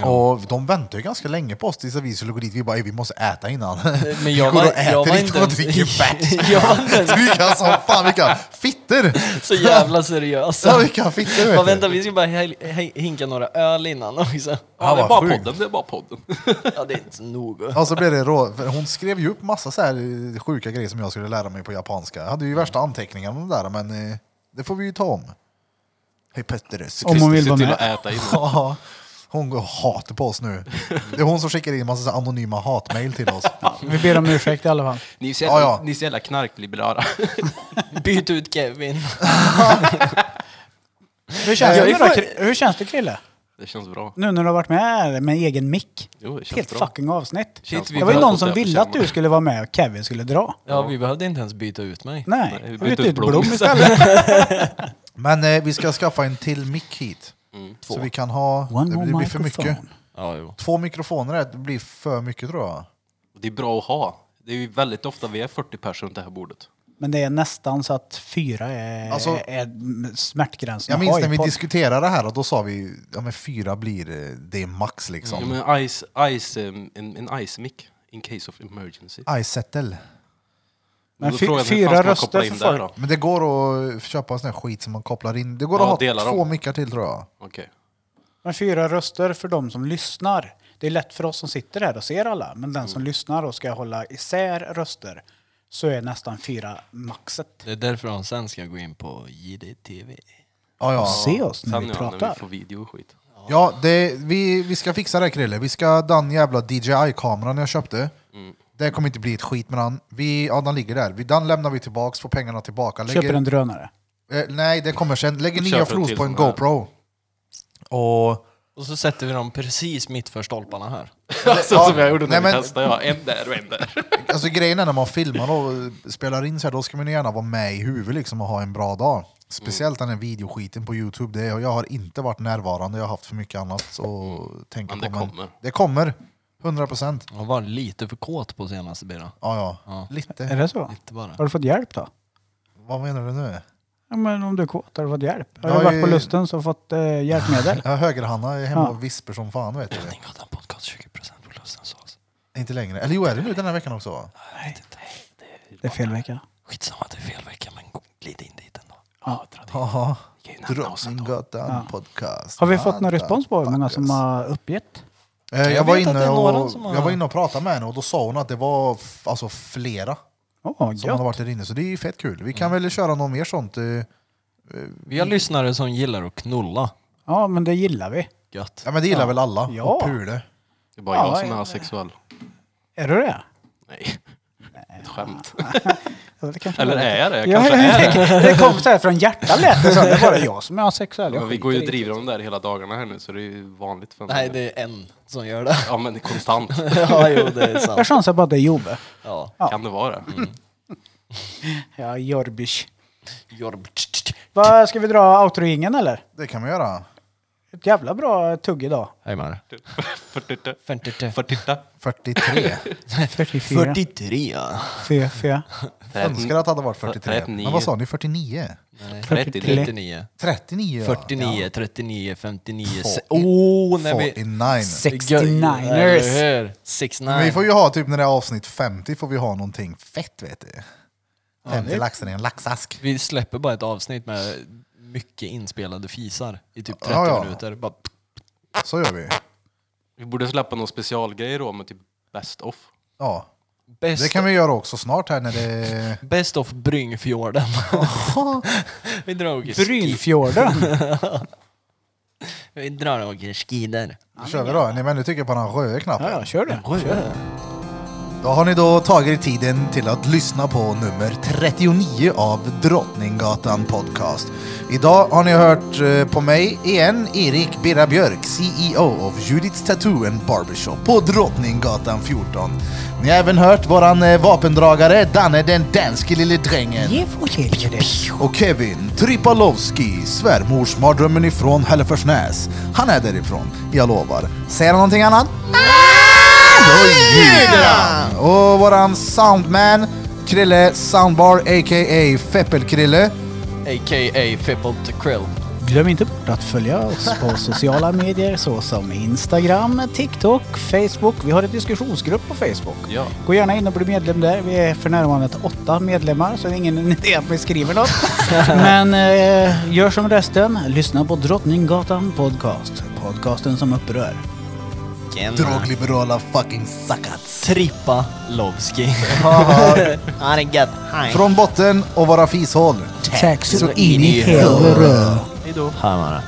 S1: Och de väntade ju ganska länge på oss tills vi skulle gå dit. Vi bara, "Ey, vi måste äta innan.
S3: Men
S1: *laughs* vi går
S3: jag var-
S1: och äter
S3: jag var
S1: inte
S3: inte
S1: och
S3: ens-
S1: dricker *laughs* bärs.
S3: *laughs* Jag var inte ens-
S1: Vilka som fan, vilka fitter!
S3: Så jävla seriös.
S1: Ja, vilka fitter vet
S3: Bara,
S1: du.
S3: vänta, vi ska bara he- he- hinka några öl innan också.
S4: Ja, det är
S1: vad
S4: bara
S1: sjukt.
S4: podden, det är bara podden.
S3: Ja, det är inte så noga.
S1: Ja, så blev det rå... för Hon skrev ju upp massa så här eh, sjuka grejer som jag skulle lära mig på japanska. Jag hade ju värsta anteckningar om det där, men eh, det får vi ju ta om. Hej Petterus.
S2: Om hon vill
S4: Se
S2: vara
S4: till att
S2: med.
S4: äta innan.
S1: Ja, hon går hatar på oss nu. Det är hon som skickar in massa så här anonyma hatmejl till oss.
S2: Vi ber om ursäkt i alla fall.
S4: Ni är så jävla,
S1: Ja, ja.
S4: ni är så jävla knarkliberala.
S3: Byt ut Kevin.
S2: Hur känns,
S1: Jag
S2: det,
S1: är
S2: nu då,
S1: för-
S2: Kri- hur känns det Krille?
S4: Det känns bra.
S2: Nu när du har varit med med egen mick.
S4: Jo, det känns
S2: Helt
S4: bra.
S2: fucking avsnitt.
S4: Shit, vi
S2: det var ju
S4: behöver
S2: någon som
S4: det på
S2: ville att
S4: kärnan.
S2: du skulle vara med och Kevin skulle dra.
S3: Ja, vi behövde inte ens byta ut mig.
S2: Nej,
S4: Nej,
S2: Nej
S4: vi bytte
S2: bytte
S4: ut
S2: ut
S4: Blom
S2: Blom
S4: *laughs*
S2: istället.
S1: Men eh, vi ska skaffa en till mick hit.
S4: Mm,
S1: så vi kan ha...
S2: One
S1: det,
S2: more
S1: blir- det blir för mycket.
S2: microphone.
S3: Ja, jo.
S1: Två mikrofoner, är- det blir för mycket tror jag.
S4: Och det är bra att ha. Det är ju väldigt ofta vi är 40 personer runt det här bordet.
S2: Men det är nästan så att fyra är,
S1: Alltså-
S2: är smärtgränsen.
S1: Jag minns
S2: Oj,
S1: när vi
S2: på-
S1: diskuterade det här och då sa vi ja, men fyra blir eh, det är max liksom.
S4: Ja, men ice, ice, um, en, en ice mic in case of emergency.
S1: Izettel.
S2: Men
S4: Då
S2: fy-
S4: frågar jag mig,
S2: fyra
S4: fan ska man
S2: röster
S4: koppla
S2: för
S4: in
S2: folk.
S4: där då?
S1: Men det går att köpa en sån här skit som man kopplar in. Det går
S4: Ja,
S1: att ha
S4: dela dem.
S1: två mickar till tror jag.
S4: Okej.
S2: Men fyra röster för de som lyssnar. Det är lätt för oss som sitter här och ser alla, men den
S4: Mm.
S2: som lyssnar och ska hålla isär röster så är nästan fyra maxet.
S3: Det är därför de sen ska gå in på JDTV.
S1: Ja, ja.
S2: Se oss när
S4: Sen
S2: vi
S4: ja, när vi
S2: pratar.
S4: får video och skit.
S1: Ja, det, vi, vi ska fixa det här, Krille. Vi ska den jävla DJI-kameran jag köpte.
S4: Mm.
S1: Det kommer inte bli ett skit med den. Vi, ja, den ligger där. Vi, den lämnar vi tillbaks, får pengarna tillbaka.
S2: Köper
S1: Lägger,
S2: en drönare.
S1: eh, nej, det kommer sen. Lägger
S4: Köper
S1: nya
S4: en
S1: flos
S4: till
S1: på en
S4: sån här.
S1: GoPro. Och...
S3: Och så sätter vi dem precis mitt för stolparna här.
S4: Så Alltså, som jag gjorde
S1: nej,
S4: när vi
S1: men-
S4: testade. Ja, en där och en där.
S1: *laughs* Alltså grejen är när man filmar och spelar in så här, då ska man ju gärna vara med i huvudet liksom och ha en bra dag. Speciellt den här videoskiten på Youtube. Det, jag har inte varit närvarande, jag har haft för mycket annat att tänka
S4: Men det
S1: på. Men
S4: kommer.
S1: det kommer. 100 procent.
S3: Jag var lite för kåt på senaste Birra.
S1: Ja, ja.
S2: Är
S1: Lite.
S2: det så?
S3: Lite bara.
S2: Har du fått hjälp då?
S1: Vad menar du nu?
S2: Ja, men om du är kåt, har du fått hjälp? Har
S1: Jag
S2: du
S1: har
S2: varit på
S1: ju-
S2: lusten så fått eh, hjälpmedel?
S1: Jag högerhanna är hemma
S2: Ja.
S1: och visper som fan vet du.
S3: Drottninggatan podcast 20% på alltså. Lustensås.
S1: Inte längre. Eller jo, är det nu den här veckan också? va?
S3: Nej, det
S2: Det är fel vecka.
S3: Skitsamma att det är fel vecka, men glid in dit ändå.
S2: Ja.
S1: Jaha.
S3: Gud,
S1: Drottninggatan podcast.
S2: Har vi fått någon
S1: Motherfuckers.
S2: respons på hur många som har uppgett?
S1: Eh, Jag,
S3: Jag
S1: var
S3: vet att det
S1: inne
S3: är
S1: och,
S3: några som har-
S1: jag var inne och pratade med henne och då sa hon att det var f- alltså, flera
S2: Åh,
S1: som har
S2: gött.
S1: varit där inne. Så det är ju fett kul. Vi kan
S3: Mm.
S1: väl köra något mer sånt. eh,
S3: Vi har lyssnare som gillar att knulla.
S2: Ja, men det gillar vi.
S3: Gött.
S1: Ja men det gillar väl alla?
S2: Ja.
S1: Och pule.
S4: Det är bara
S2: Ja,
S4: jag som
S2: ja,
S4: är
S2: ja.
S4: asexuell.
S2: Är du det?
S4: Nej. Ett skämt.
S2: Ja, det kanske
S4: Eller
S2: var det.
S4: är jag det? Jag
S2: Ja,
S4: kanske är det.
S2: det kom så här från hjärtat lät det som. Det var jag som är asexuell. Jag
S4: Men vi går ju och
S2: skiter i det.
S4: driver om det här hela dagarna här nu så det är ju vanligt för mig.
S3: Nej, det är en som gör det. *laughs*
S4: Ja men konstant
S3: ja, jo, det är sant.
S2: Jag chansar på att det är Jove.
S3: Ja.
S4: kan det vara. Mm.
S2: Ja, Jorbish.
S3: Jorb.
S2: Vad Ska vi dra outroingen eller?
S1: Det kan man göra.
S2: Ett jävla bra tugg idag.
S3: Hej Marre. 43.
S4: 43.
S1: 43.
S3: *laughs*
S2: 44.
S3: 43. ja.
S2: Fy, fy.
S1: Önskar att det hade varit 43.
S4: 39.
S1: Men vad sa ni? 49?
S3: Nej.
S2: 43.
S3: 39.
S1: 39 ja.
S3: 49, 39, 59, se-
S1: Åh,
S3: oh, när vi...
S1: 49.
S3: Eller
S2: 69ers.
S3: hur? 69.
S1: Men vi får ju ha typ när det är avsnitt 50 får vi ha någonting fett vet du. 50 laxar i en laxask.
S3: Vi släpper bara ett avsnitt med mycket inspelade fisar i typ 30
S1: Ja, ja.
S3: minuter. Bara,
S1: Så gör vi.
S4: Vi borde släppa någon specialgrej då med typ best of.
S1: Ja.
S3: best,
S1: Det kan vi göra också snart här när det...
S3: best
S1: *laughs*
S3: of Bryngfjorden. vi drar och ski-
S2: Brynfjorden.
S3: vi drar och åker skidor.
S1: Då kör vi då. Är Ni men nu tycker på den röda
S2: Ja,
S1: knappen.
S2: ja, kör det.
S1: Då har ni då tagit tiden till att lyssna på nummer 39 av Drottninggatan Podcast. Idag har ni hört eh, på mig igen, Erik Birra Björk, CEO of Judiths Tattoo and Barbershop på Drottninggatan 14. Ni har även hört våran eh, vapendragare Danne den danske lille drängen. Och Kevin Tripalowski, svärmorsmardrömmen ifrån Hälleforsnäs. Han är därifrån, jag lovar. Säger han någonting annat? Då ljuger han. Och våran soundman, Krille Soundbar, a.k.a. Feppelkrille.
S3: A.k.a. Fippled to Krill.
S2: Glöm inte bort att följa oss på sociala medier såsom Instagram, TikTok, Facebook. Vi har en diskussionsgrupp på Facebook.
S4: Ja.
S2: Gå gärna in och bli medlem där. Vi är för närvarande åtta medlemmar så det är ingen *laughs* idé att vi skriver något. Men eh, gör som resten. Lyssna på Drottninggatan Podcast. Podcasten som upprör.
S3: Tjena.
S1: Drogliberala fucking suckats.
S3: Trippa Lovski. *laughs* Ha det gött. Hej.
S1: Från botten och våra fishål.
S2: Tack
S1: så in i helvete.
S3: Hej då.